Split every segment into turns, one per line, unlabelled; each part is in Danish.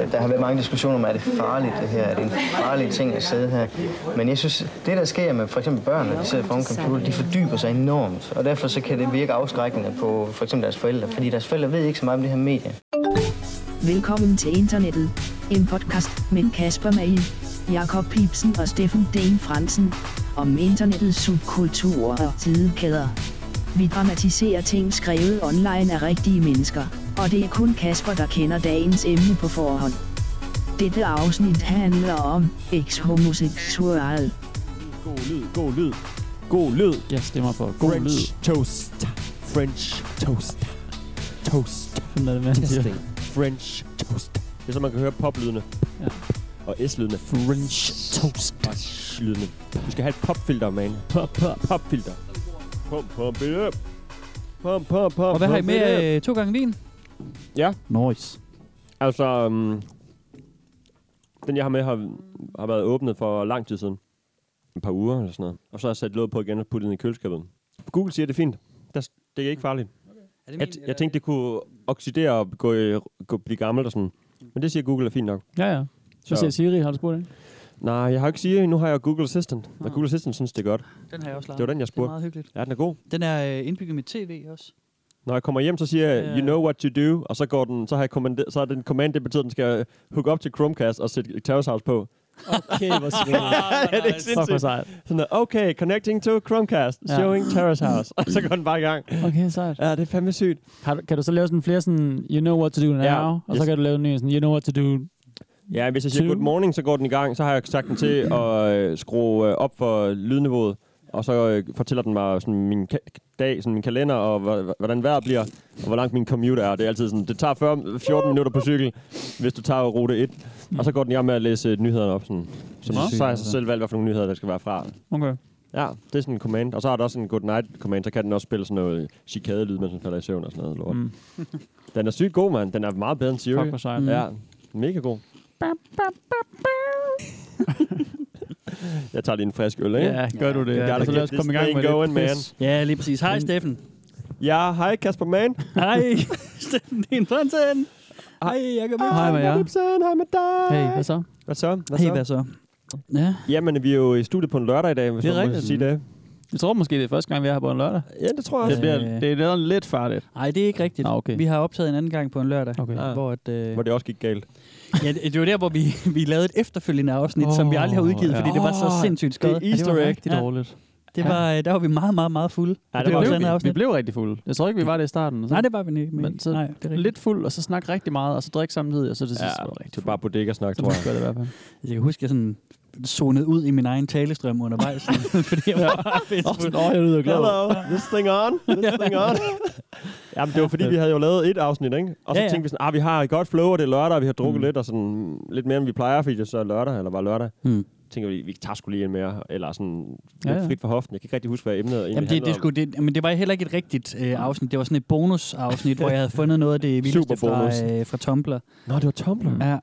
øh, der har været mange diskussioner om, er det farligt det her, er det en farlig ting at sidde her. Men jeg synes, det der sker med for eksempel børn, når de sidder foran en computer, de fordyber sig enormt. Og derfor så kan det virke afskrækkende på for eksempel deres forældre, fordi deres forældre ved ikke så meget om det her medie.
Velkommen til internettet. En podcast med Kasper Magen, Jakob Pipsen og Steffen D. Fransen. Om internettets subkulturer og tidekæder. Vi dramatiserer ting skrevet online af rigtige mennesker, og det er kun Kasper, der kender dagens emne på forhånd. Dette afsnit handler om ex-homoseksual.
God lyd, god lyd. God lyd.
Jeg stemmer på god
French
lyd.
toast. French toast. Toast.
Sådan er det, man siger.
Testing. French toast. Det er så, man kan høre poplydene.
Ja.
Og S-lydene.
French toast.
Og sh-lydene. Du skal have et popfilter, man.
Pop, pop.
Popfilter. Pump, pump it up. Pump, pump, pump,
Og hvad har I
pump
med?
it up.
Øh, to gange vin?
Ja.
Nice.
Altså, um, den jeg har med har, har været åbnet for lang tid siden. Et par uger eller sådan noget. Og så har jeg sat låg på igen og puttet den i køleskabet. Google siger, det er fint. Der, det er ikke farligt.
Er det
Jeg, t- jeg tænkte, det kunne oxidere og gå, i- gå, blive gammelt og sådan. Men det siger Google er fint nok.
Ja, ja. Så
Så-
siger Siri, har du spurgt den?
Nej, jeg har ikke Siri. Nu har jeg Google Assistant. Og
Nå.
Google Assistant synes, det er godt.
Den har jeg også lavet.
Det var den, jeg
Det er
spurgte.
meget hyggeligt.
Ja, den er god.
Den er øh, indbygget med tv også.
Når jeg kommer hjem, så siger jeg,
Ja.
you know what you do, og så, går den, så, har jeg kommande- så er den command, det betyder, at den skal hook op til Chromecast og sætte Terrace House på.
Okay, hvor sejt.
det er ikke
Fuck, hvor
sindssygt.
sejt.
Sådan noget, okay, connecting to Chromecast,
Ja.
showing Terrace House. Og så går den bare i gang.
Okay, sejt.
Ja, det er fandme sygt.
Har du, kan du så lave sådan flere sådan, you know what to do now,
Ja.
og så
Yes.
kan du lave en ny sådan, you know what to do.
Ja, hvis jeg siger
Two.
good morning, så går den i gang. Så har jeg sagt den til at øh, skrue øh, op for lydniveauet. Og så øh, fortæller den mig sådan min ka- dag, sådan min kalender, og hva- hvordan vejret bliver, og hvor langt min commuter er. Det er altid sådan, det tager 40, 14 minutter på cykel, hvis du tager rute 1. Og så går den i gang med at læse øh, nyhederne op. Sådan. Så,
Nå.
så har jeg så selv valgt, hvad for nogle nyheder, der skal være fra.
Okay.
Ja, det er sådan en command. Og så har der også en good night command, så kan den også spille sådan noget chikadelyd, mens den falder i søvn og sådan noget. Lort.
Mm.
Den er sygt god, mand. Den er meget bedre end Siri.
Fuck, hvor sejt.
Ja, mega god. jeg tager lige en frisk øl, ikke?
Ja, gør du det.
Ja,
Ja,
der
så lad os
kan-
komme i
this
gang
thing
med det.
going, man.
Pis.
Ja, lige præcis. Hej,
Men-
Steffen.
Ja, hej Kasper Mann.
Hej.
Steffen, din fremtiden. Hej, Jacob.
Hej med jer.
Ibsen, hej med dig.
Hey, hvad så?
Hvad så? Hvad
Hey,
så?
hvad så? Ja,
Jamen, vi er jo i studiet på en lørdag i dag, hvis
Det er
man må
rigtigt.
sige det.
Jeg tror måske, det er første gang, vi er her på en lørdag.
Ja, det tror jeg
Det,
også.
Øh.
bliver, det er lidt- lidt farligt.
nej, det er ikke rigtigt.
Nå, okay.
Vi har optaget en anden gang på en lørdag,
Okay.
Ja.
hvor at, øh,
Hvor det også gik galt.
ja, det det var der, hvor vi, vi lavede et efterfølgende afsnit, oh, som vi aldrig har udgivet,
Åh,
fordi
ja.
det var så
Åh,
sindssygt
Det er
skødt.
Easter
det var
egg.
rigtig
Ja.
dårligt.
Det var, øh, der var vi meget, meget, meget fulde.
Ja,
det
det
var
var
vores
vi.
andet
blev, vi
afsnit.
blev rigtig fulde. Jeg tror ikke, vi var det i starten. og Så.
Nej, det var vi ikke.
Men
Men
så
så nej, det er rigtigt.
Lidt fuld, og så snakke rigtig meget, og så drikke samtidig, og så det sidste var det
det
rigtig
er
fuld.
bare bodega-snak,
Så
tror jeg.
gør det i hvert fald.
Altså, Jeg kan huske, jeg sådan zonede ud i min egen talestrøm undervejs, fordi jeg var pissefuld.
Nå, jeg lyder glad.
Hello, this thing on, this thing on. Jamen, det var fordi, vi havde jo lavet et afsnit, ikke? Og så
Ja, ja.
tænkte vi sådan, ah, vi har et godt flow, og det er lørdag, og vi har drukket
Mm.
lidt, og sådan mm, lidt mere, end vi plejer, fordi det så er lørdag, eller var lørdag.
Hmm.
Tænker vi, vi tager sgu lige en mere, eller sådan lidt
Ja, ja.
frit for hoften. Jeg kan ikke rigtig huske, hvad emnet egentlig
Jamen det, det,
handlede
skulle, det, men det var heller ikke et rigtigt øh, afsnit. Det var sådan et bonusafsnit, hvor jeg havde fundet noget af det vildeste fra,
Superbonus.
øh, fra Tumblr.
om. Nå, det var Tumblr.
Mm.
Mm.
Ja,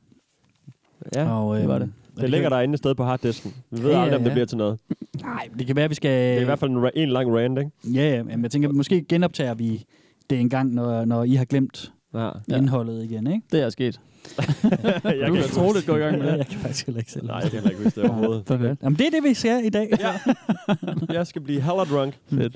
Ja,
og,
det var det.
det ligger derinde et sted på harddisken. Vi ved
Ja,
aldrig, om
ja, Øh.
det
ja.
bliver til noget.
Nej, det kan være, vi skal...
Det er i hvert fald en, ra- en lang rant, ikke?
Ja, ja, men jeg tænker, måske genoptager vi det en gang, når, når I har glemt
Ja.
Ja.
ja. indholdet igen, ikke?
Det er sket.
jeg
Du
kan
kan
ikke
tro
huske
det, gå i gang med det.
jeg kan faktisk heller ikke selv.
Nej, jeg kan heller ikke huske det overhovedet.
Perfekt.
Jamen, det er det, vi ser i dag.
Ja. jeg skal blive hella drunk.
Fedt.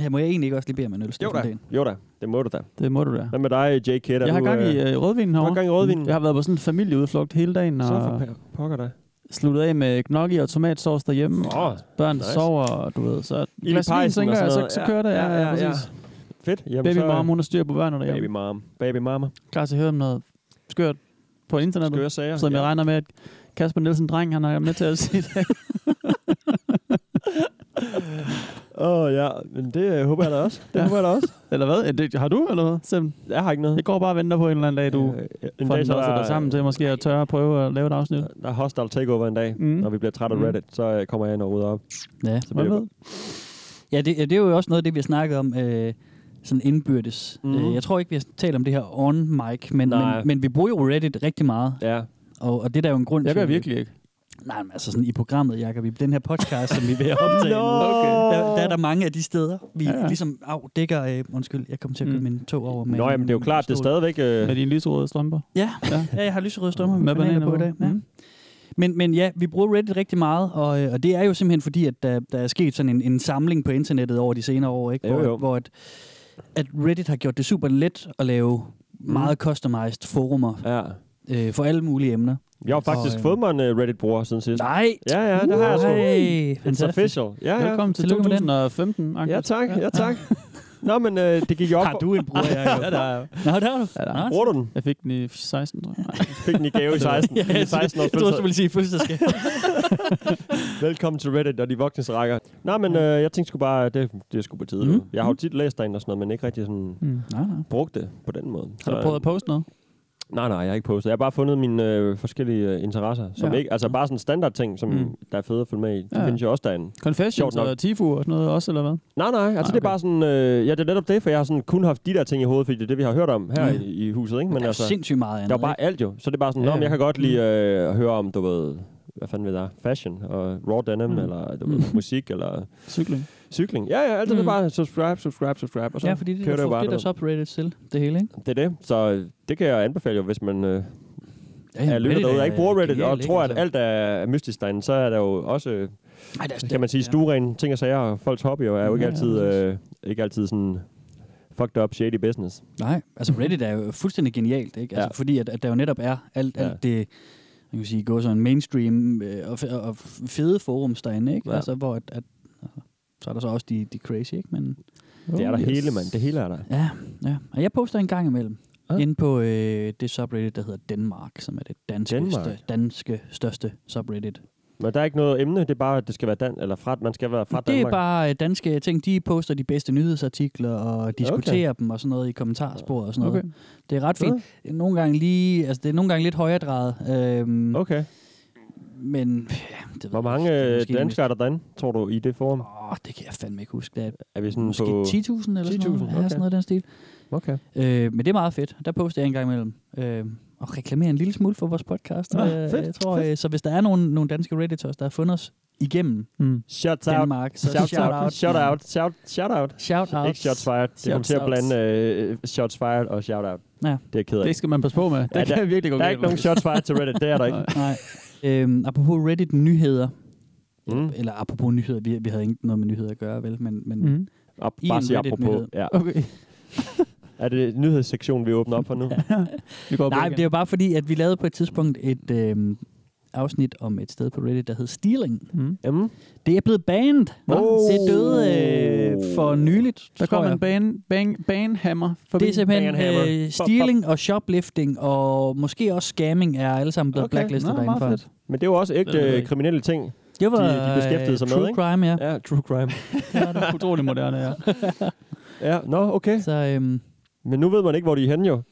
Ja, må jeg egentlig ikke også lige bede om en øl,
Jo
Steffen
da,
Dahl?
jo da. Det må du da.
Det må du da.
Hvad med dig, J.K.? Er
Jeg har
du,
gang i
øh,
øh, rødvinen
har
herovre.
gang i rødvinen?
Jeg har været på sådan en familieudflugt hele dagen,
Så for
og
pa- pokker dig.
sluttet af med gnocchi og tomatsauce derhjemme.
Åh,
Børn
nice.
sover, og du ved, så et
i
glas vin,
pejsen
tænker
og sådan
jeg, så,
noget.
så kører det. Ja, ja, præcis.
Fedt. Jamen,
Baby
så-
mom, hun er styr på børnene
Baby
derhjemme.
mom. Baby mama.
Klar til at høre om noget skørt på internettet.
Skøre sager.
Som jeg regner med, at Kasper Nielsen Dreng, han har med til at se det.
Åh, oh, ja. Men det øh, håber jeg da også. Det
Ja.
håber jeg da også.
Eller hvad? Er Det, har du, eller hvad? Sim.
Jeg har ikke noget.
Det går bare og venter på en eller anden dag,
Øh,
du en får dag, så der, sammen til måske at tørre at prøve at lave et afsnit.
Der er hostile takeover en dag.
Mm.
Når vi bliver trætte af
Mm.
Reddit, så øh, kommer jeg ind og rydder op.
Ja.
Så
Hvad
bliver
ved?
Ja, det, ja, det er jo også noget af det, vi har snakket om, øh, sådan indbyrdes.
Mhm.
Mm. Øh, jeg tror ikke, vi har talt om det her on mic, men,
Nej.
men, men vi bruger jo Reddit rigtig meget,
Ja.
og, og det er der jo en grund
Jeg
til.
gør virkelig ikke.
Nej, men altså sådan i programmet, Jacob, i den her podcast, som vi er ved at optage, nu,
Okay.
der, der er der mange af de steder, vi
Ja,
ja,
ja.
ja. ligesom af, dækker... Øh, undskyld, jeg kom til at købe
Mm.
mm. min tog over med...
Nå, jamen, det er jo klart, det er stadigvæk... Øh,
Med dine lyserøde strømper.
Ja,
Ja.
ja. ja jeg har lyserøde strømmer med,
Med
med
bananer
bananer på i dag.
på.
Ja.
Mm.
Mm. Men, men ja, vi bruger Reddit rigtig meget, og, øh, og det er jo simpelthen fordi, at der, der er sket sådan en, en samling på internettet over de senere år, ikke?
Jo,
hvor,
jo.
hvor at, at Reddit har gjort det super let at lave
Mm.
meget customized forumer
ja.
øh, for alle mulige emner.
Jeg har faktisk
Og, øh,
fået mig en øh, Reddit-bruger siden sidst.
Nej!
Ja, ja, det har jeg sgu.
Hey,
It's
fantastisk.
official. Ja, ja.
Velkommen til
Tillykke med den.
2015, Anker.
Ja, tak. Ja, tak. Nå, men øh, det gik jo op.
Har du en bror, Jacob?
Ja, der er jeg.
Nå, der er du.
Ja, der er.
Nå,
Bruger du den?
Jeg fik den i 16, tror jeg. Nej.
Fik den i gave i 16.
Ja,
I 16 års
jeg troede,
fødselsdag.
du ville sige fødselsdagsgave.
Velkommen til Reddit og de voksnes rækker. Nå, men øh, jeg tænkte sgu bare, det, det er sgu på tide.
Mm.
Mhm.
Mm. Jeg har jo tit læst derinde og sådan noget, men ikke rigtig sådan
Mm.
Nej, nej.
brugt det på den måde. øh,
Har du prøvet at poste noget?
Nej, nej, jeg har ikke postet. Jeg har bare fundet mine øh, forskellige øh, interesser. Som
Ja.
ja. ikke, altså bare sådan standard ting, som
Mm.
mm. der er fede at følge med i. Det
Ja.
ja. findes jo også derinde. Sjovt
Confessions
nok.
og Tifu og sådan noget også, eller hvad?
Nej, nej, altså nej, okay. det
Ah, okay.
er bare sådan... Øh, ja, det er netop det, for jeg har sådan kun haft de der ting i hovedet, fordi det er det, vi har hørt om her
Mm.
i, i huset, ikke? Men
Der er
altså,
sindssygt meget andet.
der er bare alt jo. Så det er bare sådan,
Ja,
ja,
ja. Mhm.
jeg kan godt lide øh, at høre om, du ved, hvad fanden ved jeg, fashion og raw denim,
Mm.
mm. eller du ved, musik, eller
Cykling.
cykling. Ja, ja, alt det
Mm.
er bare subscribe, subscribe, subscribe, og så
ja, fordi det,
kører det jo
det,
bare.
det
du
der
ved.
så på Reddit til, det hele, ikke?
Det er det, så det kan jeg anbefale jo, hvis man... Øh, Ja, jeg lytter derude, jeg ikke bruger Reddit, og tror, at alt er mystisk derinde, så er der jo også, øh,
Ej, der,
kan man sige, stueren ting og sager, og folks hobbyer er jo ikke
Ja,
altid,
ja,
øh, ikke altid sådan fucked up, shady business.
Nej, altså Reddit er jo fuldstændig genialt, ikke? Altså,
Ja.
Fordi at, at der jo netop er alt,
Ja.
alt det, man kan sige, går sådan mainstream øh, og, fe- og fede forums derinde, ikke?
Ja.
Altså, hvor at, at, altså, så er der så også de, de crazy, ikke? Men,
Det er der
Oh,
hele, mand. Det hele er der.
ja, ja. Og jeg poster en gang imellem.
Ja.
Ja. Inde på øh, det subreddit, der hedder Danmark, som er det danske,
Denmark?
stør- danske største subreddit.
Men der er ikke noget emne, det er bare, at det skal være dan, eller fra, man skal være fra
det
Danmark.
er bare øh, danske ting. De poster de bedste nyhedsartikler og diskuterer dem og sådan noget i kommentarsporet og sådan noget.
Okay.
Okay. Det er ret fint. Nogle gange lige, altså det er nogle gange lidt højere drejet, øhm, okay.
Okay.
men ja, det ved
Hvor
jeg
mange
ikke. Det er
øh,
måske
danskere er der derinde, tror du, i det forum?
mest- Åh, det kan jeg fandme ikke huske. Det er
Er vi sådan
måske 10.000
på...
eller sådan
10.000,
noget. Ja, sådan
okay.
noget i den stil.
Okay.
Øh, men det er meget fedt. Der poster jeg en gang imellem. Øh, og reklamerer en lille smule for vores podcast.
Ah,
øh,
fedt,
jeg tror,
fedt.
Øh, så hvis der er nogle, nogle danske redditors, der har fundet os igennem
Mm.
Shout out.
Danmark, så
Shout out. Shout
man.
out. Shout, shout out.
Shout out.
Ikke shots fired. Det kom til at
Shoutouts.
blande øh, shots fired og shout out.
Ja.
Det er jeg ked af.
Det skal man passe på med. Det
Ja,
kan virkelig gå
Der er
galt,
ikke nogen
Marcus.
shots fired til Reddit, det er der ikke.
Nej. Øhm, apropos Reddit-nyheder,
Mm.
eller apropos nyheder, vi, vi havde ikke noget med nyheder at gøre, vel? Men, men mm.
Mm.
Og
I
bare
en
sige apropos.
Reddit-nyhed.
Ja.
Okay.
Er det nyhedssektionen, vi åbner op for nu?
Vi går
Nej, det er jo bare fordi, at vi lavede på et tidspunkt et øhm, afsnit om et sted på Reddit, der hed Stealing.
Mm.
mm.
Det er blevet banned.
Nå. Oh.
Det døde øh, for nyligt,
Der
tror
kom
jeg.
en bane, bang, banehammer forbi.
det er simpelthen
Banhammer.
øh, stealing og shoplifting, og måske også scamming er alle sammen blevet okay.
Okay.
blacklistet
Nå, meget
derinde for.
fedt.
Men det er jo også ægte
Det ved jeg
øh,
ikke.
kriminelle ting.
Det var
De- de beskæftigede sig
øh,
med,
true
ikke?
crime, ja.
Ja, true crime.
Det er utrolig moderne, ja.
ja, nå, okay.
Så, øhm,
Men nu ved man ikke, hvor de er henne jo.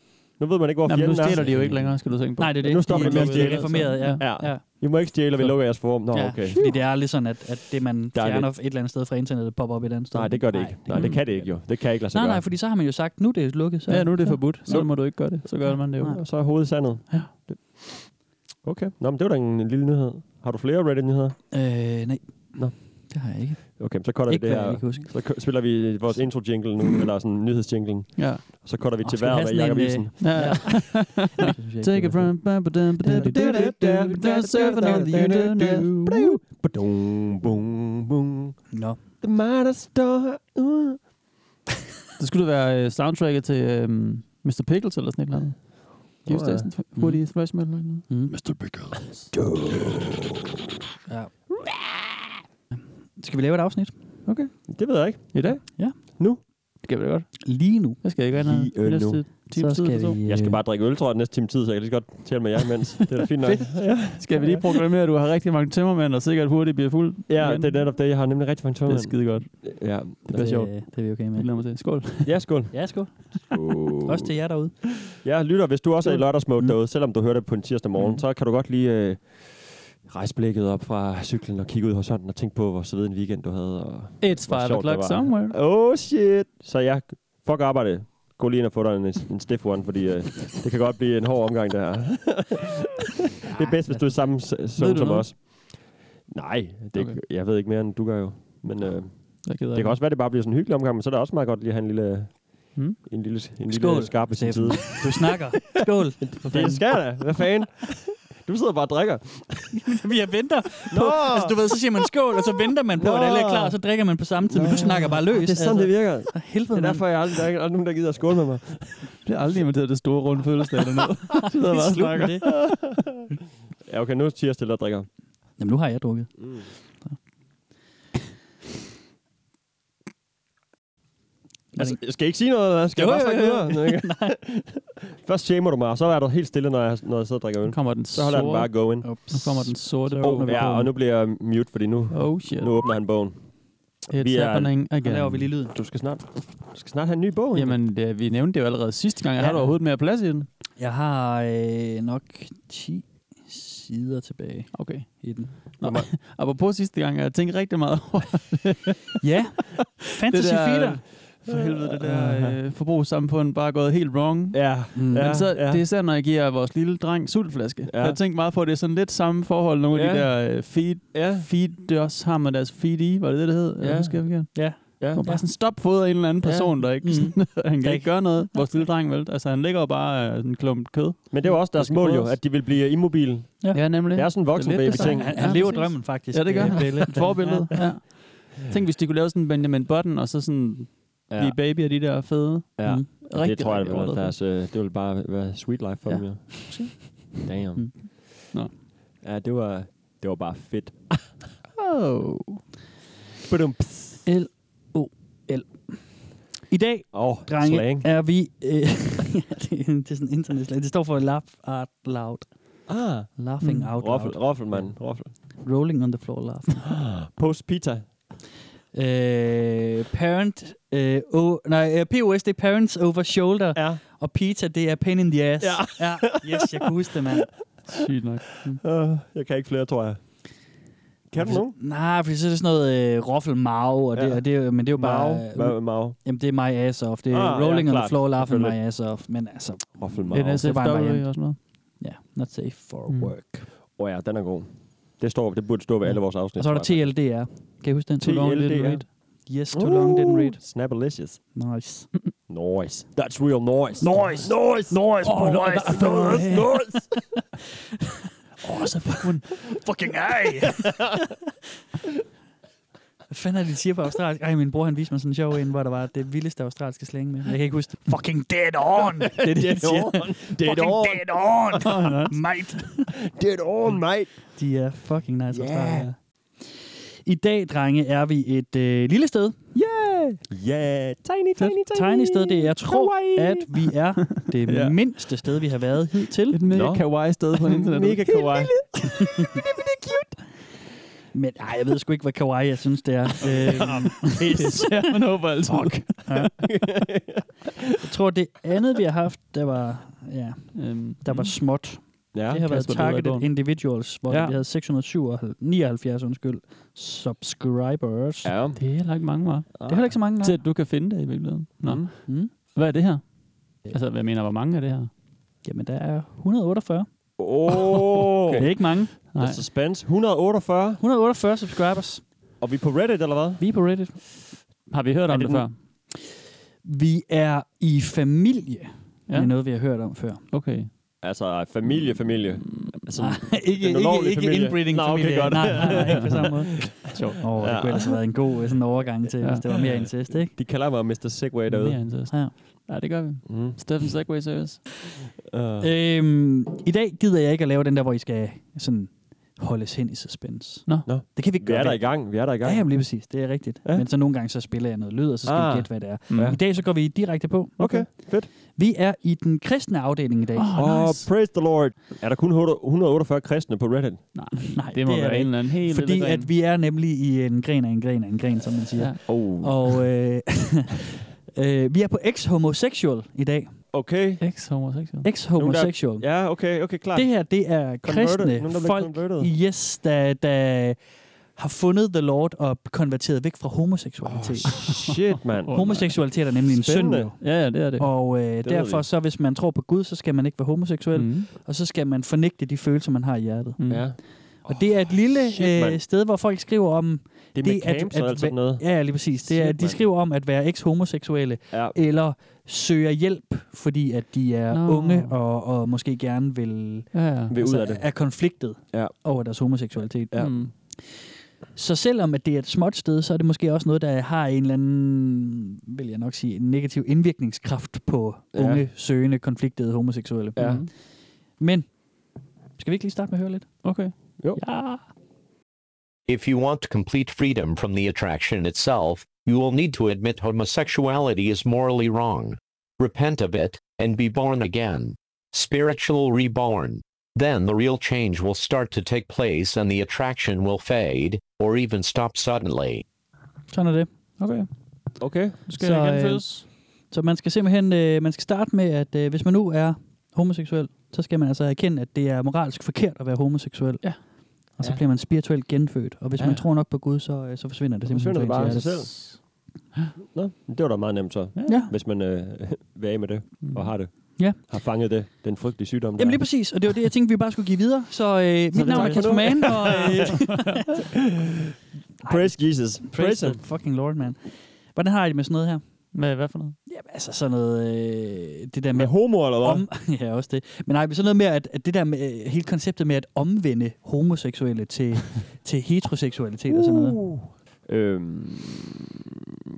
Nu ved man ikke, hvor
Jamen, nu
fjenden
stjæler
er.
de jo ikke længere, skal du tænke på.
nej, det er det.
Nu stopper
de,
vi med at
de, de
stjæle,
er
så.
reformeret, ja.
Ja.
ja.
I må ikke stjæle, og vi lukker jeres forum. Nå,
Ja,
okay.
Fordi det er lidt sådan, at, at det, man
Der er
fjerner
lidt-
et eller andet sted fra internettet, popper op et andet sted.
Nej, det gør det ikke. Nej, det kan det ikke jo. Det kan ikke lade sig
Nej,
gøre.
nej, fordi så har man jo sagt, nu er det lukket. Så.
Ja, nu er det
så.
forbudt. Så må du ikke gøre det. Så gør man det jo.
Nej.
Og så er hovedet sandet.
Ja.
Det- Okay. Nå, men det var da en lille nyhed. Har du flere Reddit-nyheder?
Øh, nej.
Nå.
Det har jeg ikke.
Okay, så cutter vi
ikke
det
hvad jeg
her.
ikke husker.
Så kø- spiller vi vores intro-jingle nu, eller sådan nyhedsjinglen.
Ja.
Og så cutter vi
Åh,
til
skal vi
vejret
have
af Jacob
sådan en,
Isen.
ja. ja.
Det synes jeg
Take
ikke,
it
det var
from...
Badum, bum, bum.
fedt. Nå.
Det er mig, der står ude.
Det skulle da være øh, soundtracket til øhm, Mr. Pickles eller sådan et eller andet. Giv os
Nå, ja.
da sådan
øh,
en hurtig thrash metal eller noget.
Mm.
Mr. Pickles.
Ja. Skal vi lave et afsnit?
Det ved jeg ikke.
I dag?
Ja.
Nu?
Det kan vi da godt.
Lige nu.
Jeg skal ikke andet.
Lige, øh,
Næste
nu.
times tid eller to.
vi...
Jeg skal bare drikke øl, tror jeg, den næste time tid, så jeg kan lige så godt tale med jer imens. Det er da fint nok. ja.
Skal vi lige proklamere, at du har rigtig mange tømmermænd, og sikkert hurtigt bliver fuld?
ja,
igen?
det er netop det. Jeg har nemlig rigtig mange
Det
tømmer.
er skide godt.
Ja,
Det bliver sjovt.
Det, det er vi okay med.
Det mig til. Skål.
Altså, ja skål.
Ja, sgu.
Oh.
Også til jer derude.
Ja, lytter, hvis du også er i lørdagsmode
Mm.
mm. derude, selvom du hører det på en tirsdag morgen,
Mm.
mm. så kan du godt lige øh, rejse blikket op fra cyklen og kigge ud i horisonten og tænke på, hvor sved en weekend du havde. Og
It's
Hvor
five
sjovt det
o'clock
var.
somewhere.
Oh shit! Så jeg fuck arbejde. Gå lige ind og få dig en, en stiff one, fordi øh, det kan godt blive en hård omgang, det her. det er bedst, hvis du er samme s- søvn
du
som
noget?
os. Nej, det, okay. jeg ved ikke mere, end du gør jo. Men øh,
Jeg gider
det
ikke.
kan også være, det bare bliver sådan en hyggelig omgang, men så er det også meget godt lige at have en lille,
Hmm?
en lille, en
Skål,
lille skarp ved sin
Steffen.
side.
Du snakker. Skål. For
Det
fanden.
skal jeg da. Hvad fanden? Du sidder bare og drikker.
Vi har venter. På,
Nå!
altså, du ved, så siger man skål, og så venter man på,
Nå.
at alle er klar, og så drikker man på samme tid, men du snakker bare løs. Altså,
Det er sådan, det virker.
For helvede,
Det er derfor, jeg aldrig, der er ikke aldrig nogen, der gider at skåle med mig.
Jeg bliver aldrig inviteret til det store runde fødselsdag eller noget.
det
bare
er
og
slut med det.
Ja, okay, nu er Tiers stille og drikker.
Jamen, nu har jeg drukket.
Altså, jeg skal ikke sige noget, eller hvad? skal
Jo,
jeg bare
jo,
snakke
jo,
videre? Nej. Først shamer du mig, og så er du helt stille, når jeg, når jeg sidder og drikker øl.
Nu kommer den
Så holder jeg den bare
sorte.
going.
Nu kommer den sorte.
Oh, ja, og nu bliver jeg mute, fordi nu,
Oh shit.
nu åbner han bogen.
It's
vi er-
happening
Så
again.
laver vi lige lyden.
Du skal snart, du skal snart have en ny bog. Henrik.
Jamen, det, vi nævnte det jo allerede sidste gang. Jeg
Ja.
har du overhovedet mere plads i den?
Jeg har øh, nok 10 sider tilbage
Okay.
i den.
Nå, apropos sidste gang, jeg tænkte rigtig meget over
Ja, Fantasy Feeder.
For helvede, det der øh, forbrugssamfund bare er gået helt wrong.
Ja,
Mm.
ja,
Men så,
ja.
det er især, når jeg giver vores lille dreng sultflaske.
Ja.
Ja. Jeg tænkte meget på, at det er sådan lidt samme forhold. Nogle af de
Ja.
der øh, feed,
ja.
feed, det også har med deres feed i. Var det det, det hed?
Ja.
Ja. Husker jeg forkert?
Ja.
Ja.
Det var bare sådan, stop fodrer en eller anden person, der ikke...
Mm.
Sådan, han
Der
kan ikke gøre noget. Vores lille dreng, vel? Altså, han ligger jo bare øh, en klump kød.
Men det var også deres
skal
mål jo,
fodres.
at de vil blive immobile.
Ja.
Ja, nemlig.
Det er sådan en voksen
Det er lidt det
baby ting.
samme.
Han,
Ja,
han lever
præcis.
drømmen, faktisk.
Ja, det gør
øh,
han.
Belle.
Et forbillede. Ja. Tænk, hvis de kunne lave sådan en Benjamin Button, og så sådan ja. blive baby af de der fede.
ja.
Mm.
Rigtig, det tror jeg, det ville,
rigtig overdrevet.
være deres, øh, det ville bare være sweet life for
Ja.
dem, jo. Damn.
Mm. Nå.
Ja, det var, det var bare fedt.
Oh.
Badum.
L-O-L. I dag,
Åh,
drenge,
slang.
er vi... Øh, det, er- det er sådan internationalt. Det står for laugh out loud.
Ah,
Laughing
Mm.
out
roffel,
loud.
roffel, mand. Roffel.
Rolling on the floor laugh.
Post pizza.
øh, parent... Øh, o, nej, øh, POS, det er parents over shoulder.
Ja.
Og pizza, det er pain in the ass.
Ja.
ja. Yes, jeg kunne huske det, mand.
Sygt nok.
Uh, jeg kan ikke flere, tror jeg. Kan du nogen?
Nej, for så er Altså, det sådan noget øh, roffel mau, og det,
Ja.
ja. og det, men det er jo bare... øh,
Mau. Hvad med Mau?
Jamen, det er my ass off. Det er
Ah,
ah,
ja,
rolling ja, on the
klart.
floor laughing my
Selvfølgelig.
ass off. Men altså,
Roffel Mau.
NSFW og
det var en variant.
sådan noget.
ja, yeah, not safe for
Mm.
work.
Åh oh, ja, den er god. Det, står, det burde stå ved alle vores afsnit.
Mm. Og så er der
tror jeg.
TLDR. Kan I huske den?
Too long didn't read.
Yes, too long didn't
Uh.
read.
Snapperlicious.
Nice.
Noise. That's real noise.
Noise.
Noise. Noise.
Oh,
boys.
no, that's the word.
noise.
Åh, oh, så fuck hun. Fucking ej. Hvad fanden er det, de siger på australsk? Ej, min bror han viste mig sådan en sjov en, hvor der var det vildeste australske slang med. Jeg kan ikke huske det. Fucking dead on. Det er det, de siger.
Dead
fucking
on.
dead on, mate.
Dead on, mate.
De er fucking nice
Yeah.
yeah. I dag, drenge, er vi et øh, lille sted.
Yeah. Yeah. Tiny, tiny, tiny.
Tiny sted, det er, jeg tror,
Hawaii.
at vi er det
Ja.
mindste sted, vi har været hidtil.
Et mega
Nå.
kawaii sted på internettet.
Mega kawaii.
Men ej, jeg ved sgu ikke, hvad kawaii jeg synes, det er. Øh,
Pis. ja, man håber altid. Fuck.
jeg tror, det andet, vi har haft, der var, ja,
Øhm,
der var småt.
Ja.
Mm. Det har været
Kasper Ledergaard.
Targeted Individuals, hvor
Ja.
vi havde 679 undskyld, subscribers.
Ja.
det er heller ikke mange, var.
Det er heller ikke så mange, nej.
Til at du kan finde det i virkeligheden. Nå.
Mm.
Mm.
Hvad er det her? Altså, hvad mener, hvor mange er det her?
Jamen, der er 148.
Åh.
Okay. Det er ikke mange.
Der er suspense. 148.
148 subscribers.
Og vi er på Reddit, eller hvad?
Vi er på Reddit.
Har vi hørt
Er
om
det
det,
den-
før?
Vi er i familie ja. med noget, vi har hørt om før.
Okay.
Altså, familie, familie. Altså,
ikke
Den ulovlige familie. Nå, okay, godt.
Nej, nej, nej, ikke på samme måde.
Sjovt.
Åh, oh, det
Ja.
kunne ellers have været en god sådan, overgang til, ja.
Ja.
hvis det var mere incest, ikke?
de kalder mig Mr. Segway
Mere
derude.
end så.
Ja.
Ja, det gør vi.
Mm.
Steffen Segway Service.
Uh,
Øhm, I dag gider jeg ikke at lave den der, hvor I skal sådan, holdes hen i suspense.
Nå.
Nå.
Det kan vi ikke
vi
gøre.
er der i gang. Vi er der i
Ja,
gang.
jamen lige præcis. Det er rigtigt.
Ja.
Ja. Men så nogle gange, så spiller jeg noget lyd, og så skal ah.
Ah.
I gætte, hvad det er.
Ja.
I dag så går vi direkte på.
Okay, fedt.
Vi er i den kristne afdeling i dag.
Åh,
Og oh,
nice.
praise the Lord. Er der kun 148 kristne på Reddit?
Nej, nej, det må
det er
være
det
en eller anden helt
fordi
lille gren.
at vi er nemlig i en gren af en gren af en gren, som man siger.
Ja.
Oh.
Og øh, øh, vi er på ex-homosexual i dag.
Okay.
Ex-homoseksuel.
Ex-homosexual.
Ja, okay, okay, klart.
Det her, det er kristne
Nogen, der bliver
folk,
converted.
yes, der, der har fundet The Lord og konverteret væk fra homoseksualitet. Oh,
Shit, mand.
Åh, nej.
homoseksualitet er nemlig en synd.
Spændende.
jo.
Ja, ja, det er det.
Og øh,
ved
derfor
vi.
så, hvis man tror på Gud, så skal man ikke være homoseksuel, mm.
Mm.
og så skal man fornægte de følelser, man har i hjertet.
Mm.
Ja.
Og det er et lille
shit, mand.
øh, sted, hvor folk skriver om...
Det er med camps og alt sådan noget.
Ja, ja, lige præcis. Det
Shit,
er,
mand.
at de skriver om at være eks-homoseksuelle,
Ja.
eller søger hjælp, fordi at de er
Nå.
no. unge og, og måske gerne vil...
Ja, ja.
Vil
Altså,
ud af det.
er konfliktet
Ja.
over deres homoseksualitet.
Ja.
Mm.
Så selvom at det er et småt sted, så er det måske også noget, der har en eller anden, vil jeg nok sige, en negativ indvirkningskraft på
Ja.
unge, søgende, konfliktede homoseksuelle.
Ja.
Mm.
Men skal vi ikke lige starte med at høre lidt?
Okay.
Jo.
Ja.
If you want complete freedom from the attraction itself, you will need to admit homosexuality is morally wrong. Repent of it, and be born again. Spiritual reborn. Then the real change will start to take place and the attraction will fade, or even stop suddenly.
Sådan er det.
Okay.
Okay.
Nu skal
Så,
så, jeg
øh,
genfødes.
Så man skal simpelthen øh, man skal starte med, at øh, hvis man nu er homoseksuel, så skal man altså erkende, at det er moralsk forkert at være homoseksuel.
Ja.
Og så
Ja.
bliver man spirituelt genfødt. Og hvis
Ja.
man tror nok på Gud, så, øh, så forsvinder det
Så forsvinder
simpelthen.
det bare
fra
af
ens
sig
hjerte.
selv. Nå, det var da meget nemt så.
Ja.
Hvis man øh, vil af med det, og har det.
Ja.
Har fanget det. Den frygtelige sygdom.
Jamen
der.
lige præcis, og det var det, jeg tænkte, vi bare skulle give videre. Så øh, mit
det
navn
tager
er
vi
Kasper
nu.
Mann, og øh,
Praise Jesus.
praise
Praise
the
him.
fucking lord, man. Hvordan har I det med sådan noget her?
Hvad, hvad for noget?
Jamen altså sådan noget, øh, det der med
Med homo eller hvad?
om... Ja, også det. Men nej, men sådan noget med, at, at det der med, øh, hele konceptet med at omvende homoseksuelle til, til heteroseksualitet og sådan noget.
Uh. Øhm,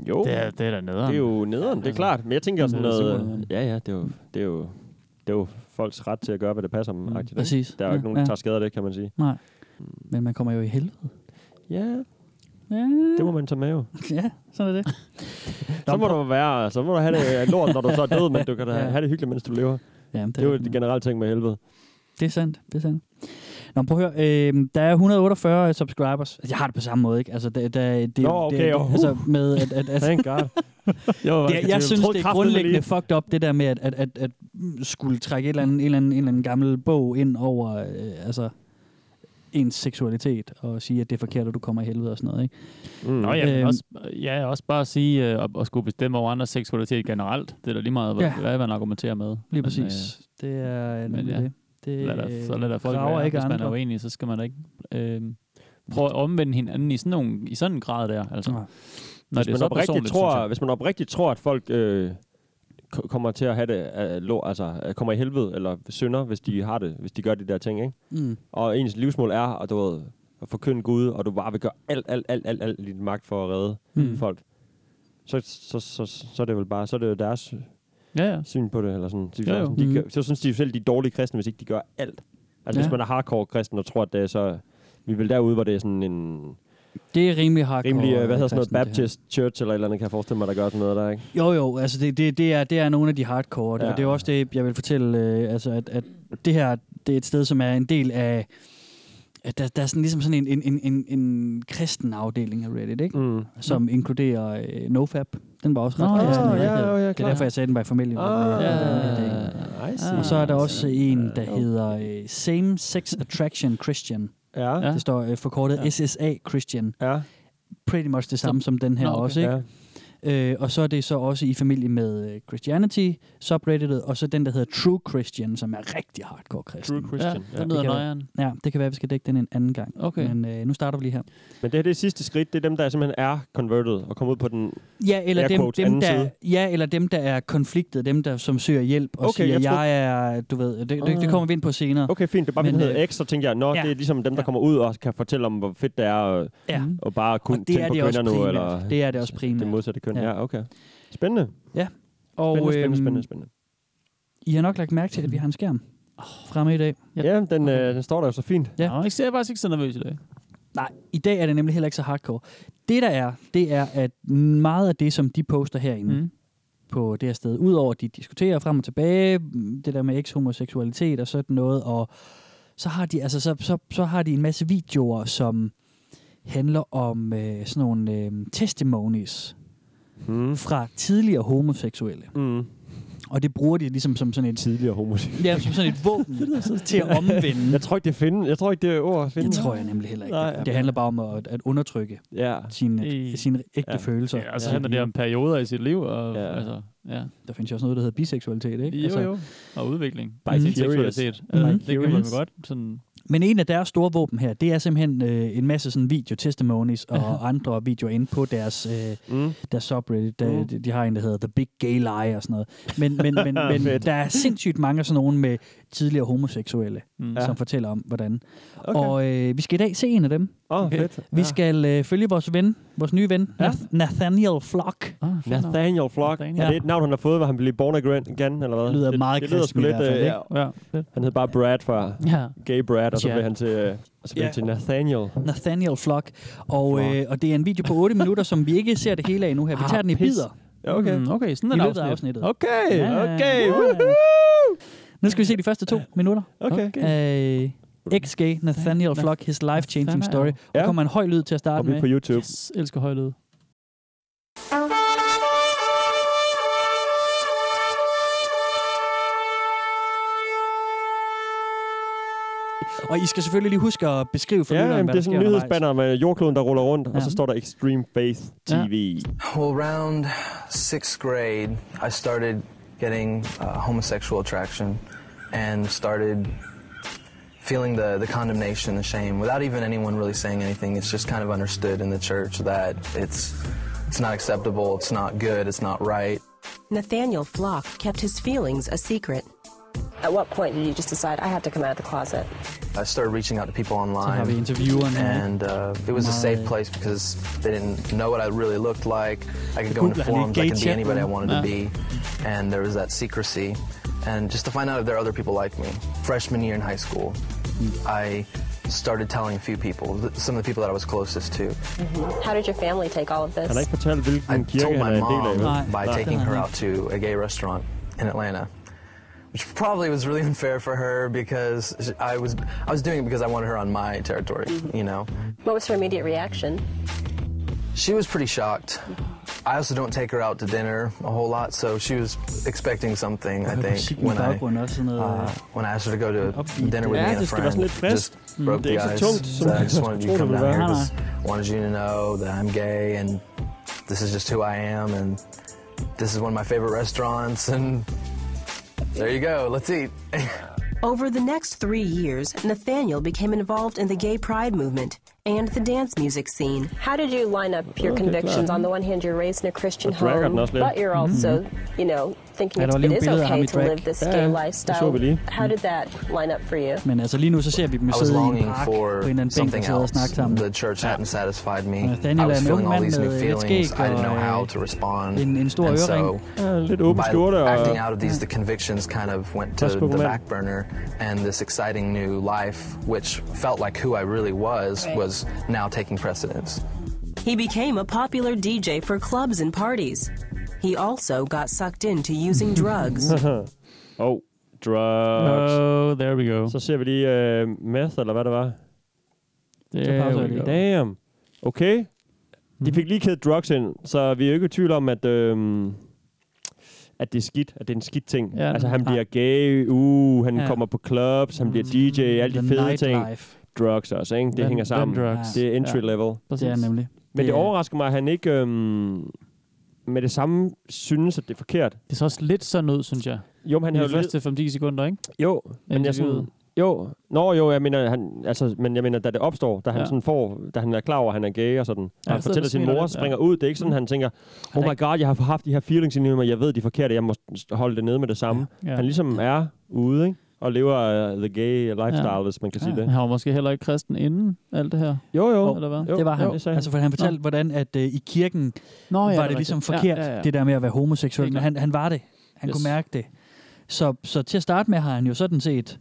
jo.
Det er, det er da nederen.
Det er jo nederen, det er
Altså,
klart. Men jeg tænker sådan
det er super
noget...
nederen.
Ja, ja, det er jo... Det er jo det er jo folks ret til at gøre, hvad det passer dem. Mm,
præcis.
Der er jo
Ja,
ikke nogen, der
ja.
tager skade af det, kan man sige.
Nej. Men man kommer jo i helvede.
Ja,
Ja,
det må man tage med jo.
ja sådan er det.
Så må du være, så må du have det øh, lort, når du så er død, men du kan da
Ja.
have det hyggeligt, mens du lever.
Ja,
Det er jo et generelt ting med helvede.
Det er sandt, det er sandt. Nå, men prøv at høre, øh, der er 148 subscribers. Jeg har det på samme måde, ikke? Altså, det, der, det,
Nå,
det,
okay,
det,
og-
altså, med at, at, at
Thank God. Jo,
det, jeg, jeg synes, det er grundlæggende fucked up, det der med at, at, at, at skulle trække et eller andet, en, eller anden, en eller anden gammel bog ind over øh, altså, ens seksualitet og sige, at det er forkert, og du kommer i helvede og sådan noget. Ikke?
Mm.
Nå ja, men
Øhm.
også, ja, også bare at sige, øh, at, at skulle bestemme over andres seksualitet generelt, det er da lige meget, hvad,
Ja.
ja. hvad man argumenterer med.
Lige
Men,
præcis. Men, øh, det er
men
nemlig
ja,
det. det.
Øh, lad da, så lad da folk
graver
være,
ikke
hvis man er
andre.
uenig, så skal man da ikke øh, prøve at omvende hinanden i sådan, nogle, i sådan en grad der. Altså,
Nej.
når
hvis,
det er
man
så
oprigtigt
personligt, synes
tror,
jeg.
hvis man oprigtigt tror, at folk øh, ko- kommer til at have det, øh, lå, altså øh, kommer i helvede, eller synder, hvis de har det, hvis de gør de der ting, ikke?
Mm.
Og ens livsmål er, at du ved, at forkynde Gud, og du bare vil gøre alt, alt, alt, alt, alt i din magt for at redde
Mm.
mm. folk. Så, så, så, så, er det vel bare, så er det jo deres
Ja, ja.
syn på det, eller sådan. De,
Jo, jo.
sådan, de
Mhm.
gør, så synes de jo selv, de er dårlige kristne, hvis ikke de gør alt. Altså,
Ja.
ja. hvis man er hardcore kristen og tror, at det er så... Vi vil derude, hvor det er sådan en
Det er rimelig hardcore.
rimelig, øh, hvad hedder sådan
kristen,
noget,
det her.
Baptist Church eller et eller andet, kan jeg forestille mig, der gør sådan noget der, ikke?
Jo, jo, altså det, det, det, er, det er nogle af de hardcore, ja.
Ja.
og det er jo også det, jeg vil fortælle, øh, altså at, at det her, det er et sted, som er en del af, at der, der er sådan ligesom sådan en, en, en, en, en kristen afdeling af Reddit, ikke?
Mm.
som inkluderer øh, NoFap. Den var også ret
Nå,
kristen.
ja,
den her.
ja,
det er derfor, jeg sagde, at den var i familie.
Ah,
Ja.
I see.
Og så er der også en, der
Ja.
hedder øh, Same Sex Attraction Christian.
Ja,
Ja.
Det står øh, forkortet
Ja.
SSA Christian.
ja,
Pretty much det samme som den her
Nå, okay.
også, ikke?
ja.
Øh, og så er det så også i familie med øh, Christianity, subredditet, og så den, der hedder True Christian, som er rigtig hardcore kristen.
True Christian.
Ja,
Ja.
den lyder
Det kan-
nøjeren.
Ja, det kan være, at vi skal dække den en anden gang.
Okay.
Men øh, nu starter vi lige her.
Men det her, det er sidste skridt. Det er dem, der simpelthen er converted og kommet ud på den...
Ja, eller,
Air
dem,
quotes,
dem,
anden
der,
side.
ja, eller dem, der er konfliktet, dem, der som søger hjælp og
Okay,
siger,
jeg
jeg,
troede-
er, du ved, det, det, det
Ah.
kommer vi ind på senere.
Okay, fint. Det er bare,
Men,
fordi den hedder
øh,
X, så tænker jeg, nå,
ja.
det er ligesom dem, der
Ja.
kommer ud og kan fortælle om, hvor fedt det er og,
Ja.
og bare kunne
Og det
tænke
er
på
det, også
kvinder nu,
primært.
eller...
det er det også primært.
Det modsatte køn,
Ja.
ja, ja okay. Spændende.
og
Spændende, spændende,
øhm,
spændende, spændende.
I har nok lagt mærke til, at vi har en skærm fremme i dag.
ja.
Ja, den,
Okay.
øh, den står der jo så fint.
Ja.
Ja. Nå, jeg er faktisk ikke så nervøs i dag.
Nej, i dag er det nemlig heller ikke så hardcore. Det der er, det er, at meget af det, som de poster herinde mm.
Mm.
på det her sted, udover at de diskuterer frem og tilbage, mm, det der med eks-homoseksualitet og sådan noget, og så har de, altså, så, så, så har de en masse videoer, som handler om øh, sådan nogle øh, testimonies
Mm.
fra tidligere homoseksuelle.
Mm.
Og det bruger de ligesom som sådan et,
Tidligere homoseksuel.
ja, som sådan et våben til at omvende.
Jeg tror ikke, det er finde. Jeg tror ikke, det er ord at finde.
Det tror jeg nemlig heller ikke.
Nej,
Nej, det
men-
handler bare om at, at undertrykke
Ja.
sine,
I-
sine ægte
Ja.
følelser.
Ja, altså, og så
Ja.
handler det om perioder i sit liv, og
Ja.
ja. altså, ja.
Der findes jo også noget,
Altså,
der hedder biseksualitet, ikke? Altså,
Jo, jo. Og udvikling. Mm-hmm.
By
Sin
curious.
seksualitet. Altså,
Mhm.
Det kan man
Curious.
godt sådan
Men en af deres store våben her, det er simpelthen øh, en masse sådan video-testimonies og andre videoer inde på deres, øh, mm. deres subreddit. Der, mm. de, de har en, der hedder The Big Gay Lie og sådan noget. Men, men, men, men
Fedt.
der er sindssygt mange af sådan nogle med tidligere homoseksuelle,
Mm.
mm.
Ja.
som fortæller om, hvordan.
Okay.
Okay. Og øh, vi skal i dag se en af dem.
Åh, oh, fedt.
Vi skal øh, følge vores ven, vores nye ven, ja. Nathaniel Flock.
Ah, fedt nok.
Nathaniel Flock. Ja.
Nathaniel.
Er det et navn, han har fået, hvor han blev born again, eller hvad?
Det lyder meget
det, det lyder sgu
kristen i
lidt,
hvert fald,
øh,
ikke?
ja.
Ja, fedt.
Han hed bare Brad før.
Ja.
Gay Brad, og så
Ja.
blev han til, øh, og så blev
Ja.
han til Nathaniel.
Nathaniel Flock. Og,
Flock.
øh, og det er en video på 8 minutter, som vi ikke ser det hele af nu her. Vi
Ah,
tager den i
pis.
bidder
Ja, okay.
Mm, okay, sådan
Mm-hmm. i
er
løbet af
det afsnit.
afsnittet.
Okay,
Ja, ja, ja.
okay,
Ja, ja.
woohoo!
Nu skal vi se de første to minutter.
Okay. okay.
Okay. Uh, XG, Nathaniel Flock, his life-changing story.
Ja.
Der kommer en høj lyd til at starte
Og vi er
med.
på YouTube.
Yes, elsker højlyd.
Og I skal selvfølgelig lige huske at beskrive for
Ja,
lytteren,
jamen,
hvad
det er
der
sådan
sker
en
undervejs.
nyhedsbanner med jordkloden, der ruller rundt, ja. og
Ja.
så står der Extreme Faith TV.
Well, around sixth grade, I started getting uh, homosexual attraction and started feeling the, the condemnation, the shame, without even anyone really saying anything. It's just kind of understood in the church that it's, it's not acceptable, it's not good, it's not right.
Nathaniel Flock kept his feelings a secret.
At what point did you just decide I have to come out of the closet?
I started reaching out to people
Så har vi
online.
intervieweren her. ikke?
And uh, it was a safe place because they didn't know what I really looked like. I could go
Google,
into
I need
forums, I
gay
could be
chat
anybody I
room.
wanted to be. And there was that secrecy. And just to find out if there are other people like me. Freshman year in high school,
Hmm.
I started telling a few people, th- some of the people that I was closest to.
How did your family take all of
Han har
this?
ikke fortalt, hvilken
I
kirke
told
han
my
er en del af.
mom
vel?
Right.
by
Right.
taking her out to a gay restaurant in Atlanta, which probably was really unfair for her because sh- I was I was doing it because I wanted her on my territory, you know.
What was her immediate reaction?
She was pretty shocked. I also don't take her out to dinner a whole lot, so she was expecting something. I think
Musikken i
when I
baggrunden også sådan noget.
uh, when I asked her to go to dinner with
Ja,
me and a
det skal være sådan
friend,
lidt frisk.
just broke
Det er
the
ikke så
ice.
tungt, som
that I just
man
wanted you
skulle tro,
to come
det
down
ville
here.
være.
Just wanted you to know that I'm gay and this is just who I am and this is one of my favorite restaurants and there you go. Let's eat.
Over the next three years, Nathaniel became involved in the gay pride movement and the dance music scene.
How did you line up your
Okay,
convictions?
klar.
On the one hand, you're raised in a Christian
Og dragger den
home,
også lidt.
but you're also, you know, thinking
Ja, der
it's,
var
it
lige
is
nogle billeder af ham
okay
i
to
drag.
live this
Ja,
gay
ja, det så
lifestyle.
vi lige.
How did that line up for you?
Men altså lige nu, så ser vi dem
I was
sidde i en
longing
park på en
for
eller anden bænk og
something
sidde og
else.
snakke sammen.
The church hadn't satisfied me. I
Nathaniel er
was
en
feeling
ung mand
all these new
med lidt
feelings.
skæg
I didn't know
og,
how
øh,
to respond.
en- en stor
and
ørering.
so
Ja, lidt åben
by
skjorte. Og,
acting out of these, the convictions kind of went to
uh, Let's go,
the
man.
back burner, and this exciting new life, which felt like who I really was, was now taking precedence.
He became a popular DJ for clubs and parties. He also got sucked into using drugs.
oh, drugs.
Oh, there we go.
Så ser vi lige øh, meth, eller hvad det var.
There
pauser
we go.
jeg lige. Mhm.
Damn. Okay. De fik lige kædet drugs ind, så vi er jo ikke i tvivl om, at, øhm, at det er skidt. At det er en skidt ting.
Ja.
Ja, altså, han bliver gay, uh, han
Ja. Mhm.
ja. kommer på clubs, han bliver DJ, alle de
The
fede ting.
nightlife.
Drugs også, ikke? Det
Ven-
hænger sammen.
vendrugs.
Det er entry
Ja.
level.
Det er nemlig.
Men det
er-
overrasker mig, at han ikke øhm, med det samme synes, at det er forkert.
Det er så også lidt sådan ud, synes jeg.
Jo, men han
Han
har
er
jo
de første 5-10 sekunder, ikke?
Jo, men jeg
interviewet.
sådan, jo, nå jo, jeg mener, han, altså, men jeg mener, da det opstår, da han
Ja.
ja. sådan får, da han er klar over, at han er gay og sådan, ja,
Ja,
han
så
fortæller
det
sin
smiler
mor,
lidt, ja.
springer ud, det er ikke sådan, han tænker, oh my god, jeg har haft de her feelings inde i mig, jeg ved, de er forkerte, jeg må holde det nede med det samme. Ja.
Ja.
Han ligesom er ude, ikke? Og lever uh, the gay lifestyle,
Ja.
ja. hvis man kan
Ja.
sige
Men
det.
Han var måske heller ikke kristen inden alt det her.
Jo, jo.
Eller hvad?
jo
Det var han.
Jo, det sagde
Altså, for han fortalte, hvordan at øh, i kirken
Nå,
oh,
ja,
ja, var
er
det ligesom
rigtigt.
forkert, ja, ja, ja. det der med at være
Det
homoseksuel,
er
men han, han var det. Han
Yes.
yes. kunne mærke det. Så, så til at starte med har han jo sådan set,